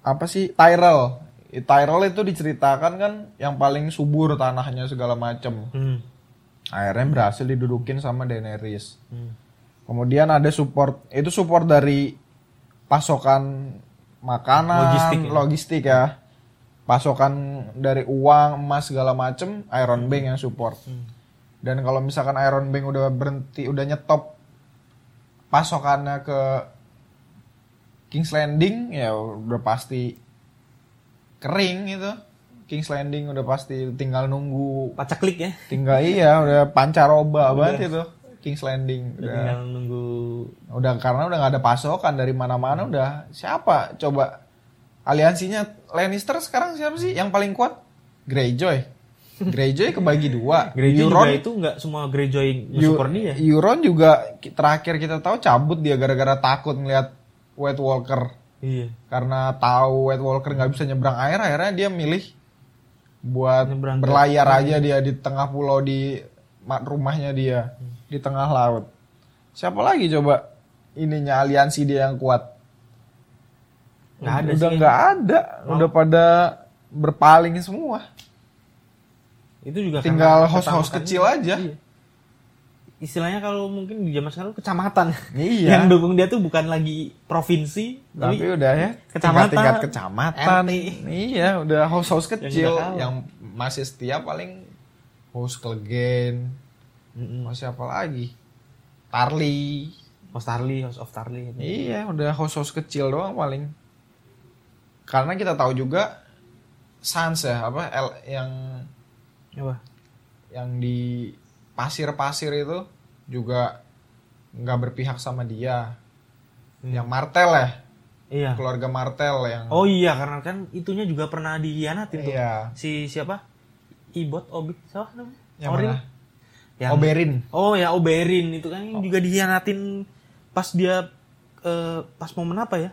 A: apa sih Tyrell Tyrell itu diceritakan kan yang paling subur tanahnya segala macem
B: Hmm.
A: akhirnya berhasil didudukin sama Daenerys
B: Hmm.
A: kemudian ada support itu support dari pasokan makanan
B: Logistik
A: logistik
B: ya.
A: ya, pasokan dari uang emas segala macem Iron Bank yang support
B: Hmm.
A: dan kalau misalkan Iron Bank udah berhenti udah nyetop pasokannya ke King's Landing ya udah pasti kering itu King's Landing udah pasti tinggal nunggu
B: Pacaklik ya.
A: tinggal iya udah pancaroba banget itu King's Landing
B: Udah
A: udah,
B: Tinggal nunggu
A: udah karena udah nggak ada pasokan dari mana-mana
B: Hmm.
A: udah siapa coba aliansinya Lannister sekarang siapa sih yang paling kuat
B: [LAUGHS]
A: Greyjoy Greyjoy kebagi dua
B: gereja
A: Euron
B: juga itu nggak semua gereja yang
A: Eu-
B: support dia.
A: Euron juga ki- terakhir kita tahu cabut dia gara-gara takut ngelihat White Walker
B: Iya.
A: karena tahu White Walker nggak bisa nyebrang air akhirnya dia milih buat
B: Nyebrang ke-
A: berlayar aja dia di tengah pulau di ma- rumahnya dia di tengah laut siapa lagi coba ininya aliansi dia yang kuat
B: Nggak ada
A: udah
B: sih.
A: nggak ada udah pada berpaling semua
B: Itu juga karena
A: tinggal host-host
B: kecamatan.
A: kecil aja
B: Iya. Istilahnya kalau mungkin di zaman sekarang kecamatan.
A: [LAUGHS] Iya.
B: Yang dukung dia tuh bukan lagi provinsi,
A: Tapi, udah ya
B: kecamatan,
A: tingkat kecamatan.
B: RT.
A: Iya, udah house-house kecil
B: udah kalah.
A: yang, masih setia paling host Klegen.
B: Mm-mm.
A: Masih apa lagi? Tarly.
B: Host Tarly, House of Tarly.
A: Iya, udah house-house kecil doang paling. Karena kita tahu juga Sans ya, apa L, yang
B: Apa?
A: yang di pasir-pasir itu juga nggak berpihak sama dia. Yang Martel ya,
B: Iya.
A: keluarga Martel yang
B: Hmm. Oh iya karena kan itunya juga pernah dihianatin tuh.
A: Iya.
B: Si siapa? Ibot Obit siapa namanya?
A: Yang
B: Orin?
A: mana?
B: Yang-
A: Oberin.
B: Oh ya Oberin itu kan
A: Oh.
B: juga dihianatin pas dia eh, pas momen apa ya?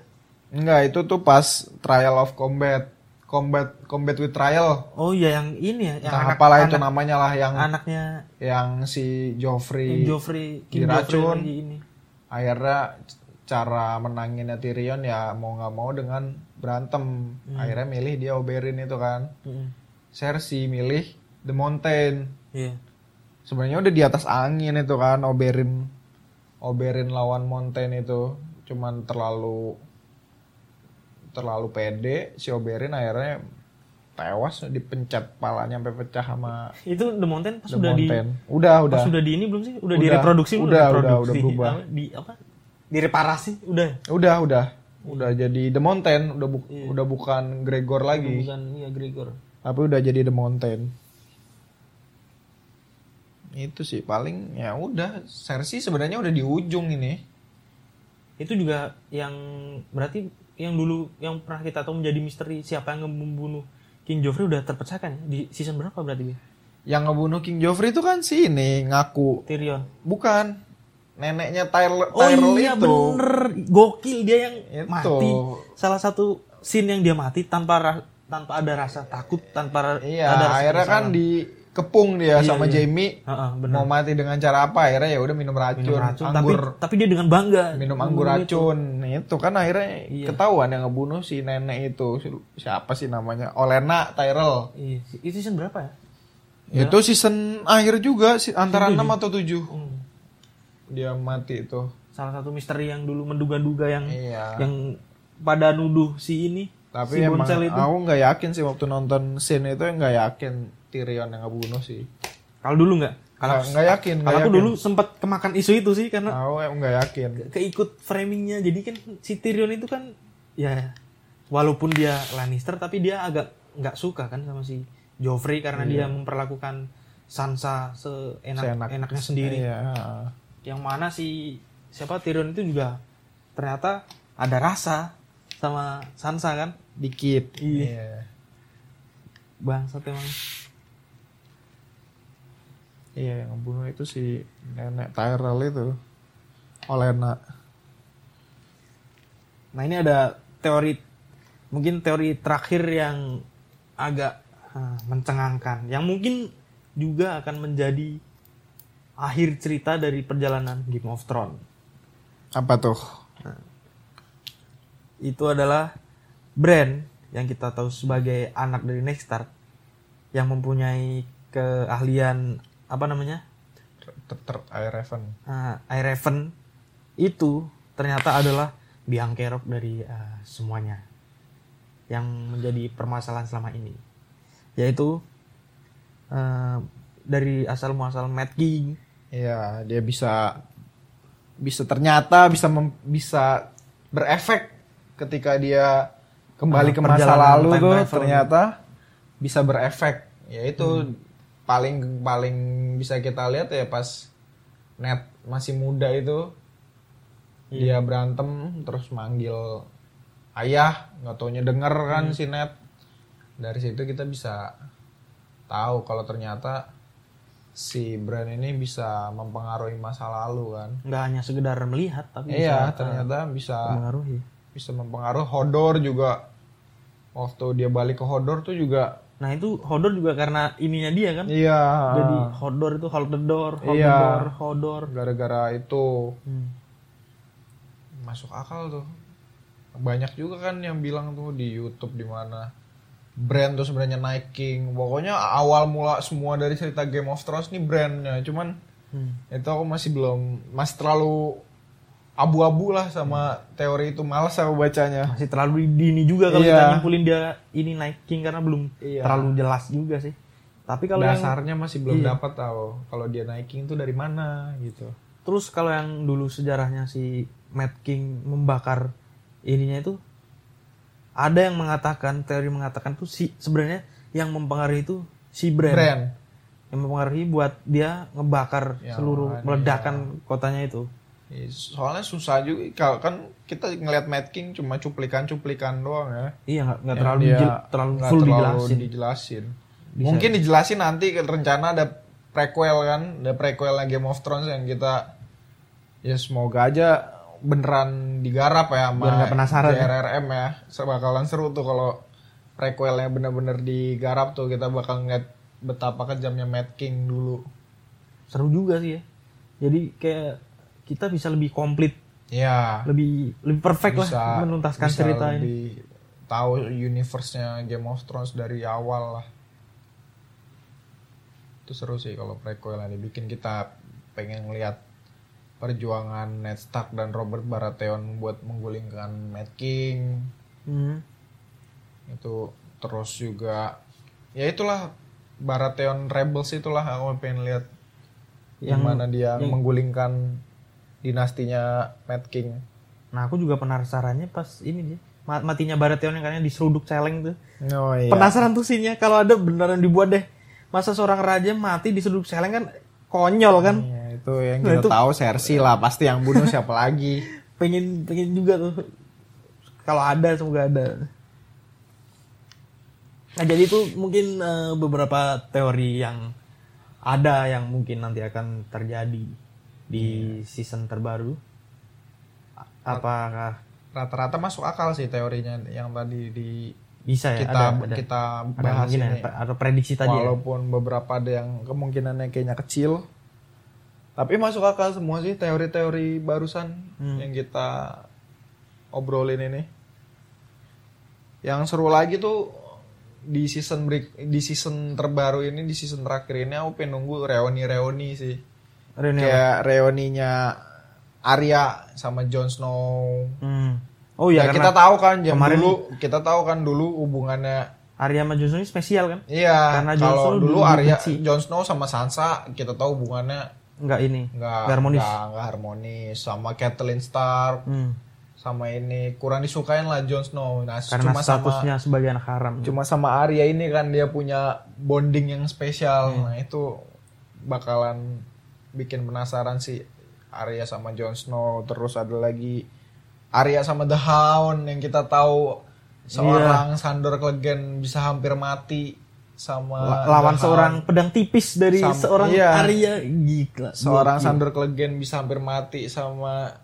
A: Enggak, itu tuh pas trial of combat, combat combat with trial.
B: Oh iya yang ini ya yang
A: Entah
B: anak,
A: apalah itu
B: anak-
A: namanya lah yang
B: anaknya
A: yang si
B: King
A: Joffrey
B: Joffrey King
A: diracun.
B: Joffrey lagi ini.
A: akhirnya c- cara menanginnya Tyrion ya mau nggak mau dengan berantem.
B: Hmm.
A: Akhirnya milih dia Oberyn itu kan.
B: Mm-mm.
A: Cersei milih The Mountain.
B: Iya.
A: Sebenarnya udah di atas angin itu kan Oberyn. Oberyn lawan Mountain itu cuman terlalu terlalu pede si Oberyn akhirnya tewas dipencet palanya sampai pecah sama
B: Itu The Mountain pas
A: The
B: udah di
A: Mountain. Udah, udah.
B: pas udah di ini belum sih? Udah,
A: Udah,
B: direproduksi belum?
A: udah, udah,
B: Reproduksi.
A: udah berubah.
B: Apa? Di apa? Direparasi udah.
A: Udah, udah. Udah jadi The Mountain, udah bu- udah bukan Gregor lagi,
B: Iya. Bukan iya Gregor.
A: tapi udah jadi The Mountain. Itu sih paling ya udah Cersei sebenarnya udah di ujung ini.
B: itu juga yang berarti yang dulu yang pernah kita tahu menjadi misteri siapa yang membunuh King Joffrey udah terpecahkan ya? di season berapa berarti Bi?
A: Yang ngebunuh King Joffrey itu kan si ini ngaku
B: Tyrion
A: Bukan. Neneknya Tyrell,
B: oh
A: Tyrell
B: iya
A: itu.
B: bener gokil dia
A: Itu.
B: yang mati salah satu scene yang dia mati tanpa ra- tanpa ada rasa takut tanpa ra-
A: Iya,
B: ada rasa
A: akhirnya kan dikepung dia sama Jamie.
B: Heeh, iya. bener.
A: Mau mati dengan cara apa? Akhirnya ya udah minum racun,
B: minum racun tapi
A: anggur,
B: tapi dia dengan bangga
A: minum anggur racun. Itu kan akhirnya
B: Iya.
A: ketahuan yang ngebunuh si nenek itu. Si- Siapa sih namanya? Olena Tyrell.
B: Iya, itu season berapa ya Iya,
A: Itu season akhir juga si- antara 6 atau 7. Dia mati itu.
B: Hmm, salah satu misteri yang dulu menduga-duga yang
A: Iya.
B: yang pada nuduh si ini
A: Tapi
B: si
A: emang
B: Boncel itu
A: aku nggak yakin sih waktu nonton scene itu nggak yakin Tyrion yang ngebunuh sih.
B: kalau dulu nggak kalau
A: Nggak nggak yakin. nggak
B: Kalau aku
A: yakin.
B: dulu sempat kemakan isu itu sih karena
A: Aku emang nggak yakin.
B: keikut framingnya. Jadi kan si Tyrion itu kan ya walaupun dia Lannister tapi dia agak nggak suka kan sama si Joffrey karena dia memperlakukan Sansa seenak
A: Iya. Seenak-
B: enaknya sendiri.
A: Iya.
B: Yang mana si siapa Tyrion itu juga ternyata ada rasa sama Sansa kan.
A: Dikit.
B: Iya.
A: Iya.
B: Bangsat emang.
A: Iya, yang ngebunuh itu si nenek Tyrell itu. Olena.
B: Nah ini ada teori mungkin teori terakhir yang agak eh, mencengangkan, yang mungkin juga akan menjadi akhir cerita dari perjalanan Game of Thrones.
A: Apa tuh?
B: itu adalah brand yang kita tahu sebagai anak dari Nextstart yang mempunyai keahlian apa namanya
A: Ter, ter air Raven.
B: uh, Raven itu ternyata adalah biang kerok dari uh, semuanya yang menjadi permasalahan selama ini yaitu uh, dari asal muasal Mad King
A: Iya, dia bisa bisa ternyata bisa mem- bisa berefek ketika dia kembali
B: Ah,
A: ke masa
B: perjalanan
A: lalu
B: time
A: tuh
B: travel.
A: ternyata bisa berefek.
B: Hmm.
A: Yaitu paling paling bisa kita lihat ya pas net masih muda itu dia
B: Iya.
A: berantem terus manggil ayah nggak taunya denger kan
B: Hmm.
A: si net dari situ kita bisa tahu kalau ternyata si brand ini bisa mempengaruhi masa lalu kan
B: nggak hanya sekedar melihat tapi
A: iya
B: bisa
A: ternyata bisa
B: uh, mengaruhi
A: bisa mempengaruhi Hodor juga waktu dia balik ke Hodor tuh juga
B: nah itu Hodor juga karena ininya dia kan
A: iya
B: jadi Hodor itu hold the door hold
A: Iya.
B: the door Hodor
A: gara-gara itu
B: Hmm.
A: masuk akal tuh banyak juga kan yang bilang tuh di YouTube di mana brand tuh sebenarnya naiking pokoknya awal mula semua dari cerita Game of Thrones nih brandnya cuman
B: Hmm.
A: itu aku masih belum masih terlalu abu-abu lah sama teori itu malas aku bacanya
B: masih terlalu dini juga kalau
A: Iya.
B: kita nyimpulin dia ini naikin karena belum
A: Iya.
B: terlalu jelas juga sih. Tapi kalau yang
A: dasarnya masih belum
B: Iya.
A: dapat tahu kalau dia naiking itu dari mana gitu
B: terus kalau yang dulu sejarahnya si Mad King membakar ininya itu ada yang mengatakan teori mengatakan tuh si sebenarnya yang mempengaruhi itu si brand,
A: brand
B: yang mempengaruhi buat dia ngebakar
A: Ya,
B: seluruh
A: makanya.
B: meledakan kotanya itu.
A: Iya, soalnya susah juga kalau kan kita ngelihat Mad King cuma cuplikan-cuplikan doang ya
B: Iya nggak nggak
A: Ya,
B: terlalu
A: dia
B: jel- terlalu
A: nggak
B: full
A: terlalu
B: dijelasin.
A: dijelasin.
B: Bisa.
A: Mungkin dijelasin nanti ke- rencana ada prequel kan, ada prequelnya Game of Thrones yang kita ya semoga aja beneran digarap ya sama
B: Biar nggak penasaran.
A: JRRM ya. Se- Bakalan seru tuh kalau prequelnya bener-bener digarap tuh kita bakal ngeliat betapa kejamnya Mad King dulu.
B: Seru juga sih ya. Jadi kayak kita bisa lebih komplit
A: Ya.
B: lebih lebih perfect lah menuntaskan
A: bisa
B: cerita ini.
A: lebih tahu universe-nya Game of Thrones dari awal lah itu seru sih kalau prequel yang dibikin kita pengen ngeliat perjuangan Ned Stark dan Robert Baratheon buat menggulingkan Mad King
B: Hmm.
A: itu terus juga ya itulah Baratheon Rebels itulah aku pengen lihat yang
B: Yang-
A: mana dia
B: yang-
A: menggulingkan dinastinya Mad King
B: Nah aku juga penasarannya pas ini dia ma- matinya Baratheon yang katanya diseruduk celeng tuh.
A: oh
B: Penasaran tuh sihnya kalau ada beneran dibuat deh. Masa seorang raja mati diseruduk celeng kan konyol kan?
A: Iya, itu yang
B: Nah,
A: kita
B: itu-
A: tahu Sersi lah pasti yang bunuh siapa lagi.
B: Pengen pengen juga tuh. Kalau ada semoga ada. Nah jadi itu mungkin eh, beberapa teori yang ada yang mungkin nanti akan terjadi di
A: Iya.
B: season terbaru. A- Apakah
A: Rata-rata masuk akal sih teorinya yang tadi di
B: bisa ya
A: kita
B: ada, ada
A: kita
B: ada
A: bahas
B: mungkin ya,
A: ini.
B: pe- ada prediksi tadi ya.
A: Walaupun beberapa ada yang kemungkinannya kayaknya kecil. Tapi masuk akal semua sih teori-teori barusan
B: Hmm.
A: yang kita obrolin ini. Yang seru lagi tuh di season break di season terbaru ini di season terakhir ini aku pengen nunggu reuni-reuni sih.
B: Reuni apa?
A: kayak reuninya Arya sama Jon Snow.
B: Hmm. Oh
A: Ya,
B: iya
A: kita
B: karena
A: tahu kan jam
B: kemarin-
A: dulu kita tahu kan dulu hubungannya
B: Arya sama Jon Snow ini spesial kan?
A: iya
B: Karena Jon Snow
A: kalau dulu
B: dulu
A: Arya
B: benci.
A: Jon Snow sama Sansa kita tahu hubungannya
B: Enggak ini.
A: nggak
B: Nggak harmonis.
A: nggak- nggak harmonis sama Catelyn Stark
B: Hmm.
A: sama ini kurang disukain lah Jon Snow. Nah,
B: Karena
A: cuma sama
B: statusnya sebagai anak haram.
A: cuma sama Arya ini kan dia punya bonding yang spesial.
B: Hmm.
A: Nah, itu bakalan bikin penasaran sih Arya sama Jon Snow terus ada lagi Arya sama The Hound yang kita tahu seorang
B: Iya.
A: Sandor Clegane bisa hampir mati sama
B: La-
A: The
B: lawan
A: Hound.
B: seorang pedang tipis dari
A: Eh, Sam-
B: seorang
A: iya.
B: Arya gila.
A: seorang
B: Gokil.
A: Sandor Clegane bisa hampir mati sama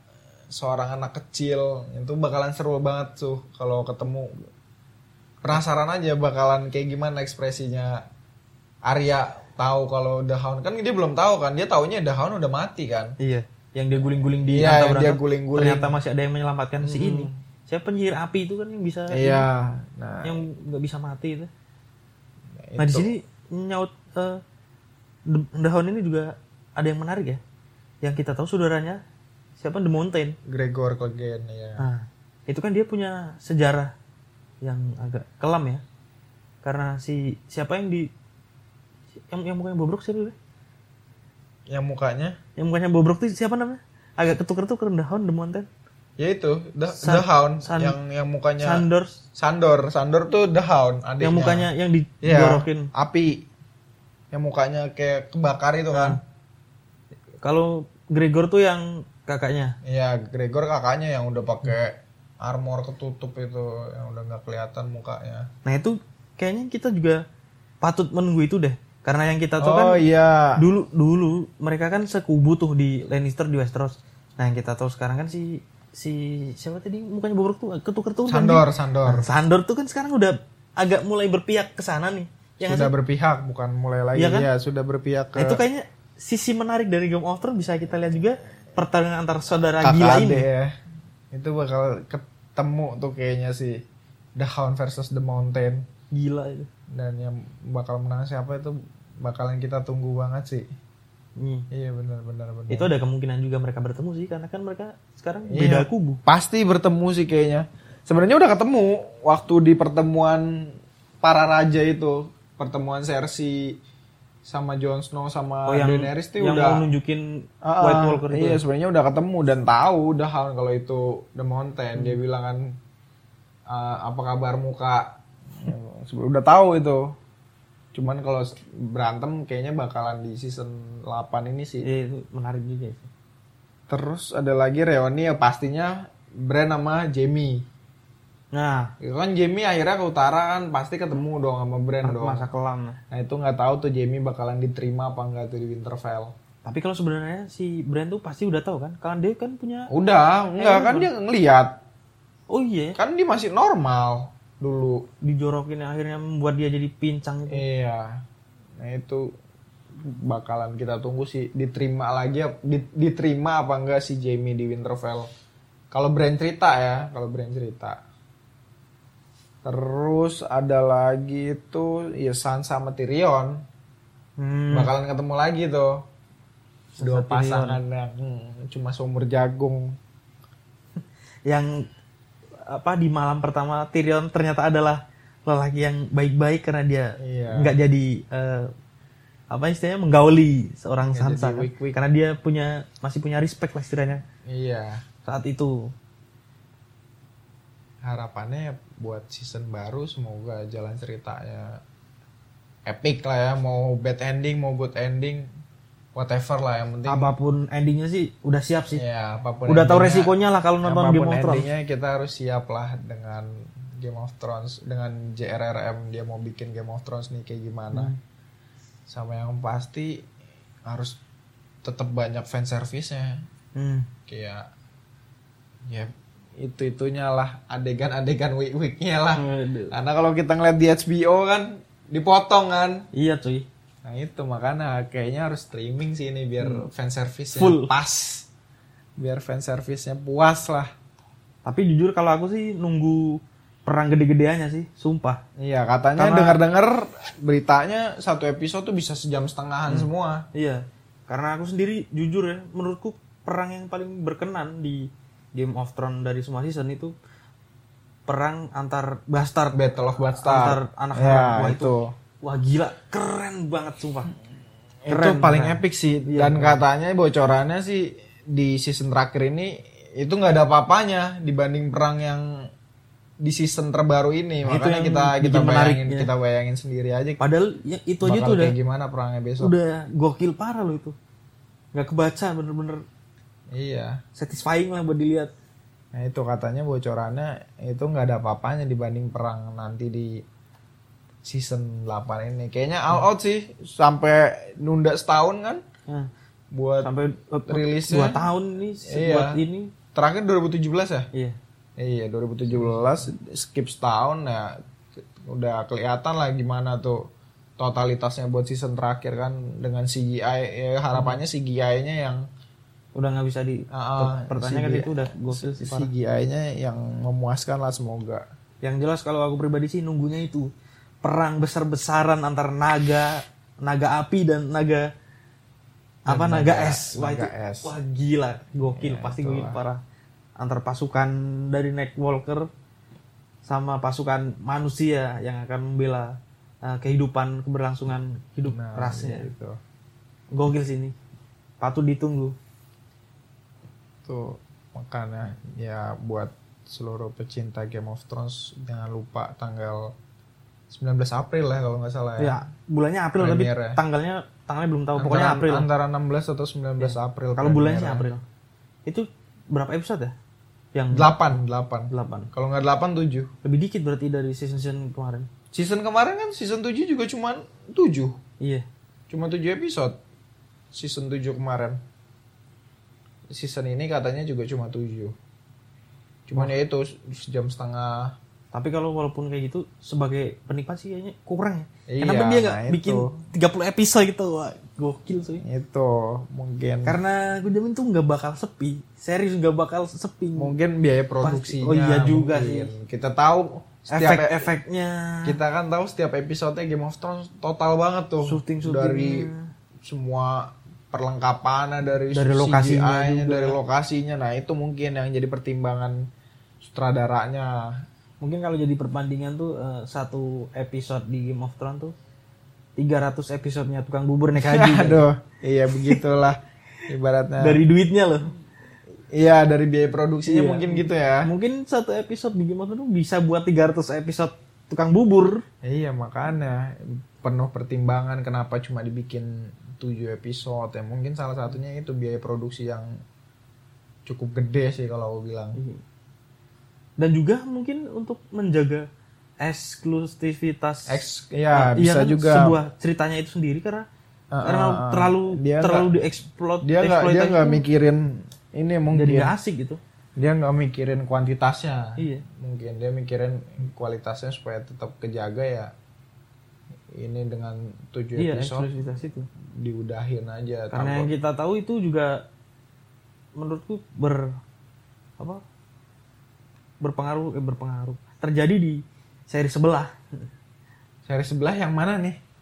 A: seorang anak kecil itu bakalan seru banget tuh kalau ketemu penasaran aja bakalan kayak gimana ekspresinya Arya tahu kalau The Hound kan dia belum tahu kan dia taunya The Hound udah mati kan
B: Iya. yang dia guling-guling
A: Iya,
B: di
A: yang
B: antara
A: dia
B: berantau,
A: guling-guling. Hmm.
B: ternyata masih ada yang menyelamatkan si ini saya penyihir api itu kan yang bisa
A: Iya. Nah,
B: yang nggak bisa mati itu
A: itu.
B: nah di sini nyaut eh, de- daun ini juga ada yang menarik ya yang kita tahu saudaranya siapa the mountain
A: Iya. Gregor Clegane ya.
B: Nah, itu kan dia punya sejarah yang agak kelam ya. Karena si siapa yang di yang yang mukanya bobrok siapa? ya?
A: Yang mukanya
B: Yang mukanya bobrok tuh siapa namanya? Agak ketuker-tuker daun The Mountain.
A: ya itu The,
B: San-
A: the Hound
B: San-
A: yang yang mukanya
B: Sandors
A: Sandor, Sandor tuh The Hound Iya. adiknya.
B: yang mukanya yang
A: Iya,
B: diborokin.
A: api. Yang mukanya kayak kebakar itu kan.
B: Kalau Gregor tuh yang kakaknya.
A: Iya, Gregor kakaknya yang udah pakai armor ketutup itu yang udah nggak kelihatan mukanya.
B: Nah, itu kayaknya kita juga patut menunggu itu deh. Karena yang kita tahu kan
A: iya.
B: dulu dulu mereka kan sekubu tuh di Lannister di Westeros. Nah yang kita tahu sekarang kan si si siapa tadi mukanya bobrok tuh ketuker tuh kan
A: Sandor, Sandor.
B: Sandor tuh kan sekarang udah agak mulai berpihak ke sana nih. Yang
A: sudah berpihak bukan mulai lagi
B: Iya kan? Eh,
A: ya, sudah berpihak ke
B: itu kayaknya sisi menarik dari Game of Thrones bisa kita lihat juga pertarungan antar saudara
A: kakak
B: gila
A: adik
B: ini.
A: ya. Itu bakal ketemu tuh kayaknya sih The Hound versus The Mountain
B: Gila itu.
A: dan yang bakal menang siapa itu bakalan kita tunggu banget sih.
B: Nih.
A: Iya benar benar benar.
B: Hmm. Itu ada kemungkinan juga mereka bertemu sih karena kan mereka sekarang
A: Iya.
B: beda kubu.
A: pasti bertemu sih kayaknya. Sebenarnya udah ketemu waktu di pertemuan para raja itu, pertemuan Cersei sama Jon Snow sama
B: Oh, yang
A: Ah, Daenerys tuh
B: yang
A: udah
B: mau nunjukin
A: Ah,
B: White Walker itu. ya?
A: iya sebenarnya udah ketemu dan tahu udah hal kalau itu The Mountain dia bilang kan "Ah, apa kabar muka Sebe- udah tahu itu cuman kalau s- berantem kayaknya bakalan di season 8 ini sih
B: Iya, itu menarik juga sih.
A: terus ada lagi reuni ya pastinya Bran sama Jamie
B: Nah,
A: itu kan Jamie akhirnya ke utara kan pasti ketemu dong sama Bran dong
B: masa kelam. Nah.
A: nah itu nggak tahu tuh Jamie bakalan diterima apa enggak tuh di Winterfell
B: Tapi kalau sebenarnya si Brand tuh pasti udah tahu kan, kalau dia kan punya
A: udah enggak kan dia ngelihat
B: oh iya
A: kan dia masih normal dulu
B: dijorokin yang akhirnya membuat dia jadi pincang itu.
A: iya nah itu bakalan kita tunggu sih diterima lagi ap- di- diterima apa enggak si Jamie di Winterfell kalau brand cerita ya kalau brand cerita terus ada lagi itu ya Sansa sama Tyrion
B: Hmm.
A: bakalan ketemu lagi tuh dua
B: Sansa Tyrion.
A: pasangan yang hmm, cuma seumur jagung
B: Yang apa di malam pertama Tyrion ternyata adalah lelaki yang baik-baik karena dia
A: Iya.
B: nggak jadi eh, apa istilahnya menggauli seorang
A: Nggak
B: Sansa
A: jadi
B: kan.
A: weak-weak.
B: karena dia punya masih punya respect lah istilahnya
A: iya
B: saat itu.
A: harapannya buat season baru semoga jalan ceritanya epic lah ya mau bad ending mau good ending whatever lah yang penting
B: Apapun endingnya sih udah siap sih.
A: ya apapun
B: udah tahu
A: endingnya-
B: resikonya lah kalau nonton
A: apapun
B: Game of Thrones.
A: endingnya kita harus siap lah dengan Game of Thrones dengan JRRM dia mau bikin Game of Thrones nih kayak gimana
B: Hmm.
A: sama yang pasti harus tetap banyak fan service-nya
B: Hmm.
A: kayak ya itu itunya lah adegan-adegan week weeknya lah
B: Aduh.
A: karena kalau kita ngeliat di HBO kan dipotong kan.
B: Iya cuy.
A: Nah itu makanya kayaknya harus streaming sih ini biar fan service
B: Hmm. Full.
A: pas. Biar fan service-nya puas lah.
B: Tapi jujur kalau aku sih nunggu perang gede-gedeannya sih, sumpah.
A: Iya katanya
B: Karena-
A: dengar-dengar beritanya satu episode tuh bisa sejam setengahan semua.
B: Iya. Karena aku sendiri jujur ya, menurutku perang yang paling berkenan di Game of Thrones dari semua season itu perang antar bastard,
A: Battle of
B: antar
A: Bastard.
B: anak
A: Ya,
B: haram. Wah, itu.
A: itu.
B: Wah gila, keren banget sumpah.
A: itu paling epic sih
B: Iya,
A: dan katanya bocorannya sih di season terakhir ini itu nggak ada apa-apanya dibanding perang yang di season terbaru ini
B: Nah, itu
A: makanya
B: yang
A: kita kita
B: bikin menarik,
A: bayangin
B: ya.
A: kita bayangin sendiri aja
B: Padahal ya, itu aja
A: bakal
B: tuh udah
A: kayak gimana perangnya besok
B: udah gokil parah loh itu. Gak kebaca bener-bener
A: iya
B: satisfying lah buat dilihat.
A: nah itu katanya bocorannya itu nggak ada apa-apanya dibanding perang nanti di season 8 ini kayaknya
B: Hmm.
A: all out sih sampai nunda setahun kan
B: Nah,
A: buat
B: sampai eh,
A: rilisnya.
B: dua tahun nih
A: Iya.
B: buat ini.
A: terakhir 2017 ya
B: Iya.
A: Iya 2017 skip setahun ya udah kelihatan lah gimana tuh
B: Hmm.
A: totalitasnya buat season terakhir kan dengan CGI ya harapannya CGI-nya yang
B: udah nggak bisa di
A: Ah, ah,
B: pertanyaan kan
A: CGI.
B: itu udah gokil sih parah.
A: CGI-nya yang memuaskan lah semoga.
B: Yang jelas kalau aku pribadi sih nunggunya itu perang besar-besaran antara naga, naga api dan naga apa naga, es. Wah,
A: naga
B: itu-
A: es. Iya,
B: wah gila, gokil, pasti gokil parah. Antar pasukan dari Nightwalker sama pasukan manusia yang akan membela uh, kehidupan keberlangsungan hidup rasnya.
A: Gitu.
B: Gokil sih ini. Patut ditunggu.
A: Tuh makanya ya buat seluruh pecinta Game of Thrones jangan lupa tanggal 19 April lah kalau nggak salah ya.
B: Ya, bulannya April tapi
A: Premier ya.
B: tanggalnya tanggalnya belum tahu. Pokoknya
A: Antara-
B: April. Iya.
A: Antara 16 atau 19 April.
B: Kalau bulannya sih April. Itu berapa episode ya? Yang
A: 8, 8.
B: 8.
A: Kalau nggak 8, 7.
B: Lebih dikit berarti dari season-season kemarin.
A: Season kemarin kan season 7 juga cuman 7.
B: Iya.
A: Cuma 7 episode. Season 7 kemarin. Season ini katanya juga cuma 7. Cuman ya itu sejam setengah.
B: Tapi kalau walaupun kayak gitu sebagai penikmat sih kayaknya kurang ya.
A: Iya,
B: Kenapa dia nggak
A: nah
B: bikin
A: itu. Iya.
B: 30 episode gitu? Wah, gokil sih.
A: Itu mungkin
B: Karena gue jamin tuh nggak bakal sepi. Serius nggak bakal sepi.
A: mungkin biaya produksinya.
B: Oh iya juga
A: mungkin. Kita tahu setiap e-
B: Efek-efeknya.
A: kita kan tahu setiap episodenya Game of Thrones total banget tuh.
B: Syuting-syutingnya.
A: dari semua perlengkapannya dari,
B: Dari lokasinya
A: CGI-nya,
B: juga.
A: dari lokasinya. Nah, itu mungkin yang jadi pertimbangan sutradaranya.
B: Mungkin kalau jadi perbandingan tuh eh, satu episode di Game of Thrones tuh 300 episodenya tukang bubur naik haji. kan?
A: [LAUGHS] Aduh, iya begitulah ibaratnya.
B: Dari duitnya loh.
A: iya, dari biaya produksinya mungkin gitu ya.
B: Mungkin satu episode di Game of Thrones bisa buat 300 episode tukang bubur.
A: Iya, makanya penuh pertimbangan kenapa cuma dibikin 7 episode ya. Mungkin salah satunya itu biaya produksi yang cukup gede sih kalau aku bilang.
B: Dan juga mungkin untuk menjaga eksklusivitas
A: X ya
B: Iya
A: bisa
B: kan,
A: juga
B: sebuah ceritanya itu sendiri karena
A: Ah,
B: karena
A: ah, ah.
B: terlalu
A: Dia
B: terlalu dieksploit
A: dia nggak dia
B: eksploitasi
A: nggak
B: itu
A: mikirin ini mungkin
B: jadi nggak asik gitu.
A: dia nggak mikirin kuantitasnya
B: Iya.
A: mungkin dia mikirin kualitasnya supaya tetap kejaga ya ini dengan 7
B: Iya,
A: episode
B: eksklusivitas itu.
A: diudahin aja
B: Karena yang
A: tanpa-
B: kita tahu itu juga menurutku ber apa? berpengaruh eh, berpengaruh. Terjadi di seri sebelah.
A: seri sebelah yang mana nih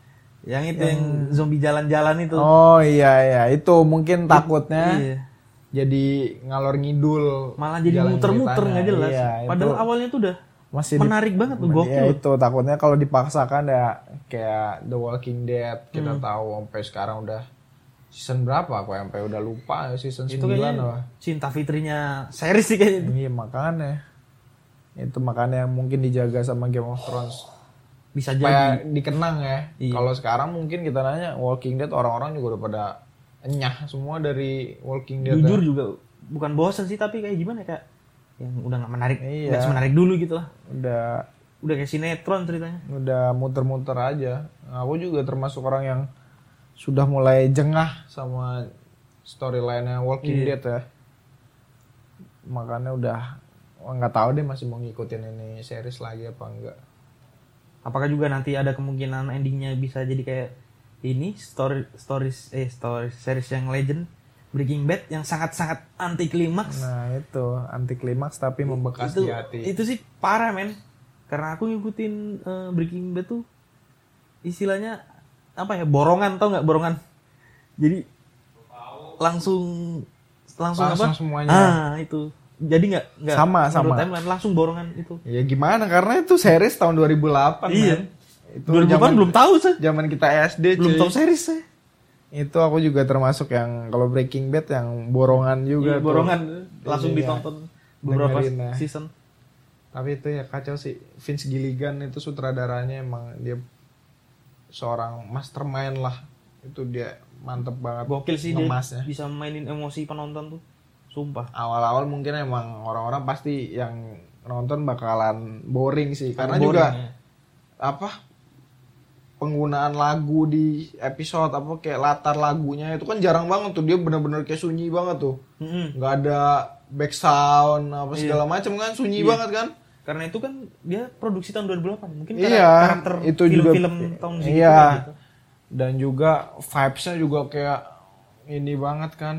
B: Yang itu yang, zombie jalan-jalan itu.
A: oh iya iya itu mungkin takutnya
B: gitu. Iya.
A: jadi ngalor ngidul
B: Malah jadi
A: jalan
B: muter-muter
A: ceritanya.
B: nggak jelas.
A: Iya,
B: Padahal
A: itu
B: awalnya tuh udah
A: masih di-
B: menarik banget tuh,
A: Ya
B: gokil.
A: itu takutnya kalau dipaksakan ya kayak The Walking Dead kita
B: Hmm.
A: tahu sampai sekarang udah season berapa aku sampai udah lupa ya, season
B: Itu
A: 9
B: kayaknya
A: lah.
B: cinta fitrinya series sih kayaknya itu.
A: Iya makanya itu makanya yang mungkin dijaga sama Game of Thrones
B: Bisa jadi.
A: supaya dikenang ya.
B: Iya.
A: Kalau sekarang mungkin kita nanya Walking Dead orang-orang juga udah pada enyah semua dari Walking Dead.
B: Jujur juga bukan bosan sih tapi kayak gimana ya, kayak yang udah nggak menarik,
A: Iya.
B: nggak menarik dulu gitu lah.
A: Udah
B: Udah kayak sinetron ceritanya.
A: udah muter-muter aja. Aku juga termasuk orang yang sudah mulai jengah sama storyline-nya Walking
B: Iya.
A: Dead ya. Makanya udah wah, nggak tahu deh masih mau ngikutin ini series lagi apa enggak.
B: Apakah juga nanti ada kemungkinan endingnya bisa jadi kayak ini story stories eh story series yang legend Breaking Bad yang sangat-sangat anti klimaks.
A: Nah itu anti klimaks tapi membekas
B: itu,
A: di hati.
B: itu sih parah men karena aku ngikutin eh, Breaking Bad tuh istilahnya apa ya borongan tau nggak borongan jadi langsung langsung,
A: Langsung
B: apa
A: semuanya.
B: ah itu jadi nggak nggak
A: Sama,
B: menurut
A: sama.
B: timeline, langsung borongan itu
A: Ya gimana karena itu series tahun 2008
B: Iya.
A: men. Itu
B: dua
A: zaman, Iya,
B: belum tahu sih
A: zaman kita SD
B: belum
A: cuy.
B: tahu series saya
A: Itu aku juga termasuk yang kalau Breaking Bad yang borongan juga tuh.
B: Iya, borongan langsung
A: Iya.
B: ditonton beberapa
A: Dengerin, ya.
B: season
A: Tapi itu ya kacau sih. Vince Gilligan itu sutradaranya emang dia seorang mastermind lah. Itu dia mantep banget.
B: gokil sih dia
A: ngemasnya.
B: bisa mainin emosi penonton tuh sumpah
A: Awal-awal mungkin emang orang-orang pasti yang nonton bakalan boring sih. Karena
B: Boring
A: juga
B: ya.
A: apa penggunaan lagu di episode apa kayak latar lagunya itu kan jarang banget tuh dia bener-bener kayak sunyi banget tuh
B: Mm-mm.
A: nggak ada back sound apa
B: Iya.
A: segala macam kan sunyi banget kan
B: Karena itu kan dia produksi tahun 2008. Mungkin karena
A: Iya,
B: karakter
A: itu
B: film,
A: juga
B: film tahun segitu
A: Iya.
B: kan gitu.
A: Dan juga vibes-nya juga kayak ini banget kan.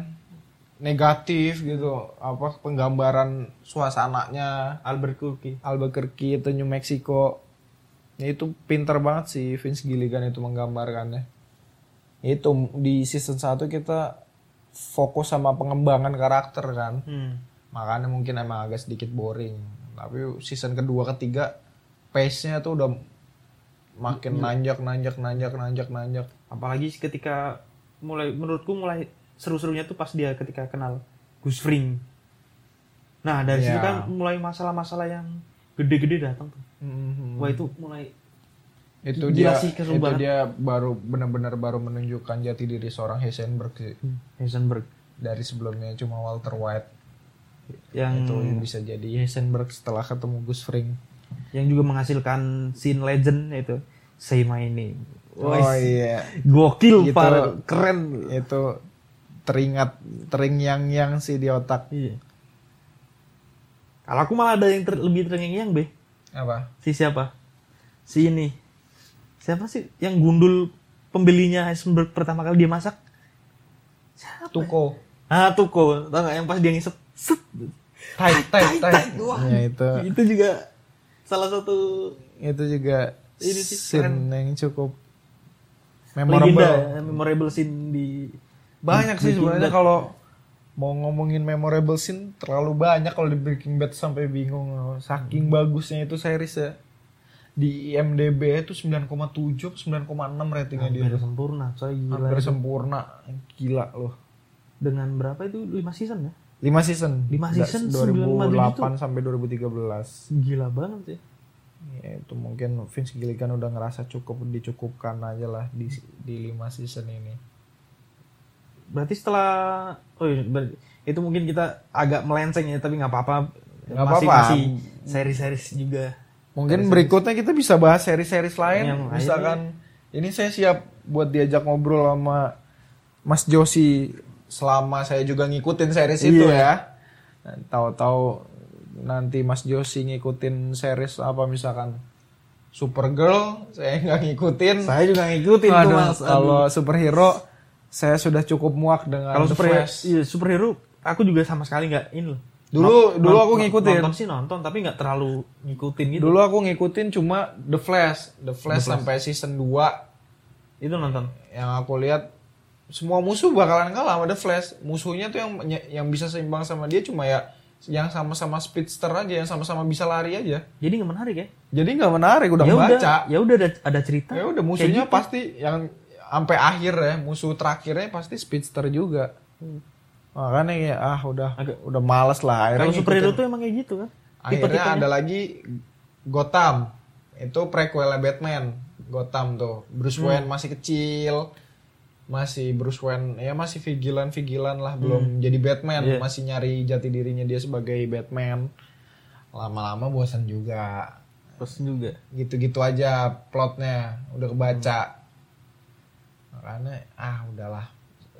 A: negatif gitu apa penggambaran suasananya
B: Albert Kuki
A: Albuquerque itu New Mexico Ya, itu pinter banget sih Vince Gilligan itu menggambarkannya itu di season 1 kita fokus sama pengembangan karakter kan
B: Hmm.
A: makanya mungkin emang agak sedikit boring tapi season kedua ketiga pace nya tuh udah makin nanjak nanjak nanjak nanjak nanjak
B: apalagi ketika mulai menurutku mulai seru-serunya tuh pas dia ketika kenal Gus Fring nah dari situ
A: Iya.
B: kan mulai masalah-masalah yang gede-gede datang tuh
A: Mhm.
B: wah itu mulai
A: itu
B: Gila
A: dia
B: sih, keseru
A: itu
B: banget.
A: dia baru benar-benar baru menunjukkan jati diri seorang Heisenberg sih
B: Heisenberg
A: dari sebelumnya cuma Walter White
B: yang
A: itu bisa jadi Heisenberg setelah ketemu Gus Fring
B: yang juga menghasilkan scene legend yaitu Say My Name
A: oh
B: Wais,
A: iya
B: gokil
A: Gitu.
B: par keren
A: itu teringat teringyang yang sih di otak
B: Iya. Kalau aku malah ada yang ter- lebih terngiang-ngiang, Be.
A: apa
B: Si siapa? Si ini. Siapa sih yang gundul pembelinya Heisenberg pertama kali dia masak?
A: Tuko
B: Ah, Tuko. Tau nggak yang pas dia ngisep. Set.
A: tai tai
B: tai,
A: tai
B: tai. Wah.
A: ya, itu
B: Itu juga salah satu
A: itu juga
B: Ini sih
A: scene yang cukup
B: legenda,
A: memorable
B: ya, memorable scene di
A: banyak
B: di
A: sih
B: Breaking
A: sebenarnya
B: Bad.
A: kalau mau ngomongin memorable scene terlalu banyak kalau di Breaking Bad sampai bingung saking
B: Hmm.
A: bagusnya itu series ya di IMDb itu 9,7 atau 9,6 ratingnya dia
B: hampir sempurna, coy gila.
A: hampir sempurna gila loh
B: Dengan berapa itu 5 season ya?
A: 5 season.
B: Lima
A: Da-
B: season,
A: 2008 sampai 2013.
B: Gila banget ya.
A: Ya, itu mungkin Vince Gilligan udah ngerasa cukup dicukupkan aja lah di di 5 season ini.
B: Berarti setelah oh iya, ber- itu mungkin kita agak melenceng ya tapi nggak apa-apa.
A: Nggak
B: Masih-
A: apa-apa.
B: Masih seri-seri juga.
A: Mungkin berikutnya kita bisa bahas seri-series lain.
B: Yang lain ya.
A: Misalkan ini saya siap buat diajak ngobrol sama Mas Josi selama saya juga ngikutin series itu
B: Iya.
A: ya. Nah, Tahu-tahu nanti Mas Josi ngikutin series apa misalkan Supergirl saya [LAUGHS] nggak ngikutin.
B: Saya juga ngikutin
A: Aduh,
B: tuh Mas.
A: Kalau superhero saya sudah cukup muak dengan
B: Kalau
A: The
B: super
A: Flash.
B: iya, superhero aku juga sama sekali nggak ini loh.
A: Dulu dulu aku
B: Non-
A: ngikutin.
B: Nonton sih nonton tapi nggak terlalu ngikutin gitu.
A: Dulu aku ngikutin cuma The Flash, The Flash sampai season 2
B: Itu nonton.
A: yang aku lihat semua musuh bakalan kalah sama The Flash. Musuhnya tuh yang yang bisa seimbang sama dia cuma ya yang sama-sama speedster aja, yang sama-sama bisa lari aja.
B: Jadi nggak menarik ya?
A: Jadi nggak menarik udah
B: ya
A: baca.
B: udah, ya udah ada, ada cerita.
A: Ya udah musuhnya
B: Kayak gitu.
A: pasti yang sampai akhir ya, musuh terakhirnya pasti speedster juga. Makanya ya ah udah
B: Hmm. Agak-
A: udah males lah akhirnya.
B: Kalau superhero
A: ngikutin.
B: tuh emang kayak gitu kan.
A: akhirnya
B: Tipe-tipenya.
A: ada lagi Gotham. Itu prequelnya Batman. Gotham tuh. Bruce
B: Hmm.
A: Wayne masih kecil. Masih Bruce Wayne ya masih vigilan-vigilan lah belum jadi Batman,
B: Iya.
A: masih nyari jati dirinya dia sebagai Batman. Lama-lama bosan juga.
B: Terus juga.
A: gitu-gitu aja plotnya udah kebaca
B: Hmm.
A: makanya ah udahlah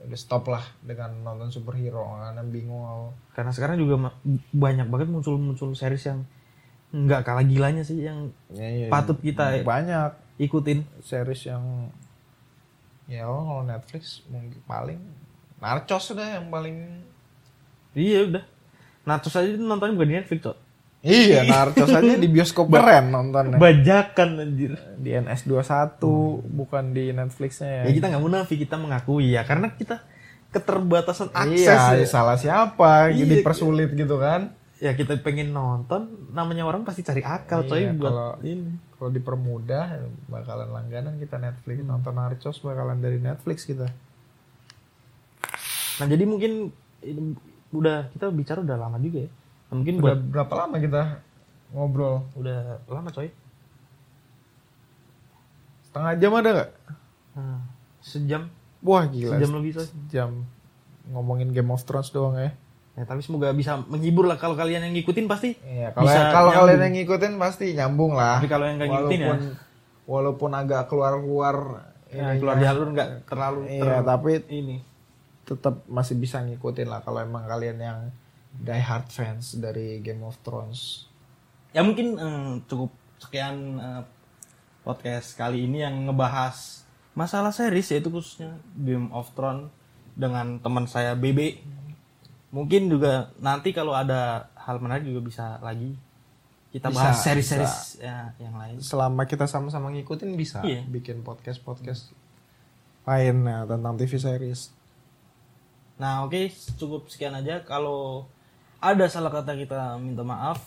A: udah stop lah dengan nonton superhero karena bingung aku.
B: Karena sekarang juga ma- banyak banget muncul-muncul series yang nggak kalah gilanya sih yang patut kita ya.
A: banyak
B: ikutin.
A: series yang ya lo kalau Netflix mungkin paling Narcos udah yang paling
B: Iya udah. Nah terus aja itu nontonnya bukan di Netflix Cok.
A: [LAUGHS] iya Narcos aja di bioskop keren
B: Nah.
A: nontonnya
B: Bajakan anjir.
A: di NS21 bukan di Netflixnya
B: Ya kita nggak munafik kita mengakui ya karena kita keterbatasan akses
A: iya
B: ya.
A: salah siapa
B: Iya.
A: jadi persulit gitu kan
B: ya. kita pengen nonton namanya orang pasti cari akal coy
A: Iya,
B: buat
A: kalau-
B: ini.
A: kalau dipermudah bakalan langganan kita Netflix nonton Narcos bakalan dari Netflix kita
B: Nah jadi mungkin ini udah kita bicara udah lama juga ya. Nah, mungkin
A: udah
B: buat
A: berapa lama kita ngobrol
B: udah lama coy.
A: setengah jam ada nggak
B: Nah, sejam
A: wah gila
B: sejam lebih coy.
A: jam ngomongin Game of Thrones doang ya
B: Ya, tapi semoga bisa menghibur lah kalau kalian yang ngikutin pasti.
A: Iya, kalau
B: Bisa
A: kalau
B: nyambung.
A: kalian yang ngikutin pasti nyambung lah.
B: Tapi kalau yang nggak ngikutin ya.
A: walaupun, walaupun agak keluar-keluar
B: Ya,
A: ininya.
B: keluar jalur nggak terlalu
A: Iya,
B: terlalu
A: tapi
B: ini.
A: tetap masih bisa ngikutin lah kalau emang kalian yang die hard fans dari Game of Thrones.
B: Ya mungkin eh, cukup sekian eh, podcast kali ini yang ngebahas masalah series yaitu khususnya Game of Thrones dengan teman saya BB. Mungkin juga nanti kalau ada hal menarik juga bisa lagi kita
D: Bisa,
B: bahas seri-seri yang lain.
A: Selama kita sama-sama ngikutin bisa
B: Iya.
A: bikin podcast-podcast lain ya, tentang TV series.
B: Nah, oke, cukup sekian aja. Kalau ada salah kata kita minta maaf.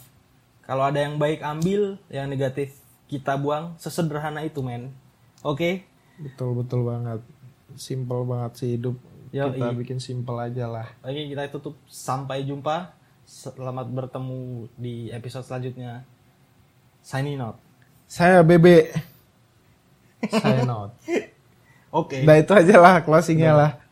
B: Kalau ada yang baik ambil, yang negatif kita buang. Sesederhana itu, men. Oke.
A: Betul betul banget. Simple banget sih hidup.
B: Yo,
A: kita
B: iya.
A: bikin simple aja lah.
B: Oke, kita tutup. Sampai jumpa. Selamat bertemu di episode selanjutnya. Signing out.
A: Saya Bebe. Saya not.
B: Oke.
A: Udah itu aja lah closingnya lah.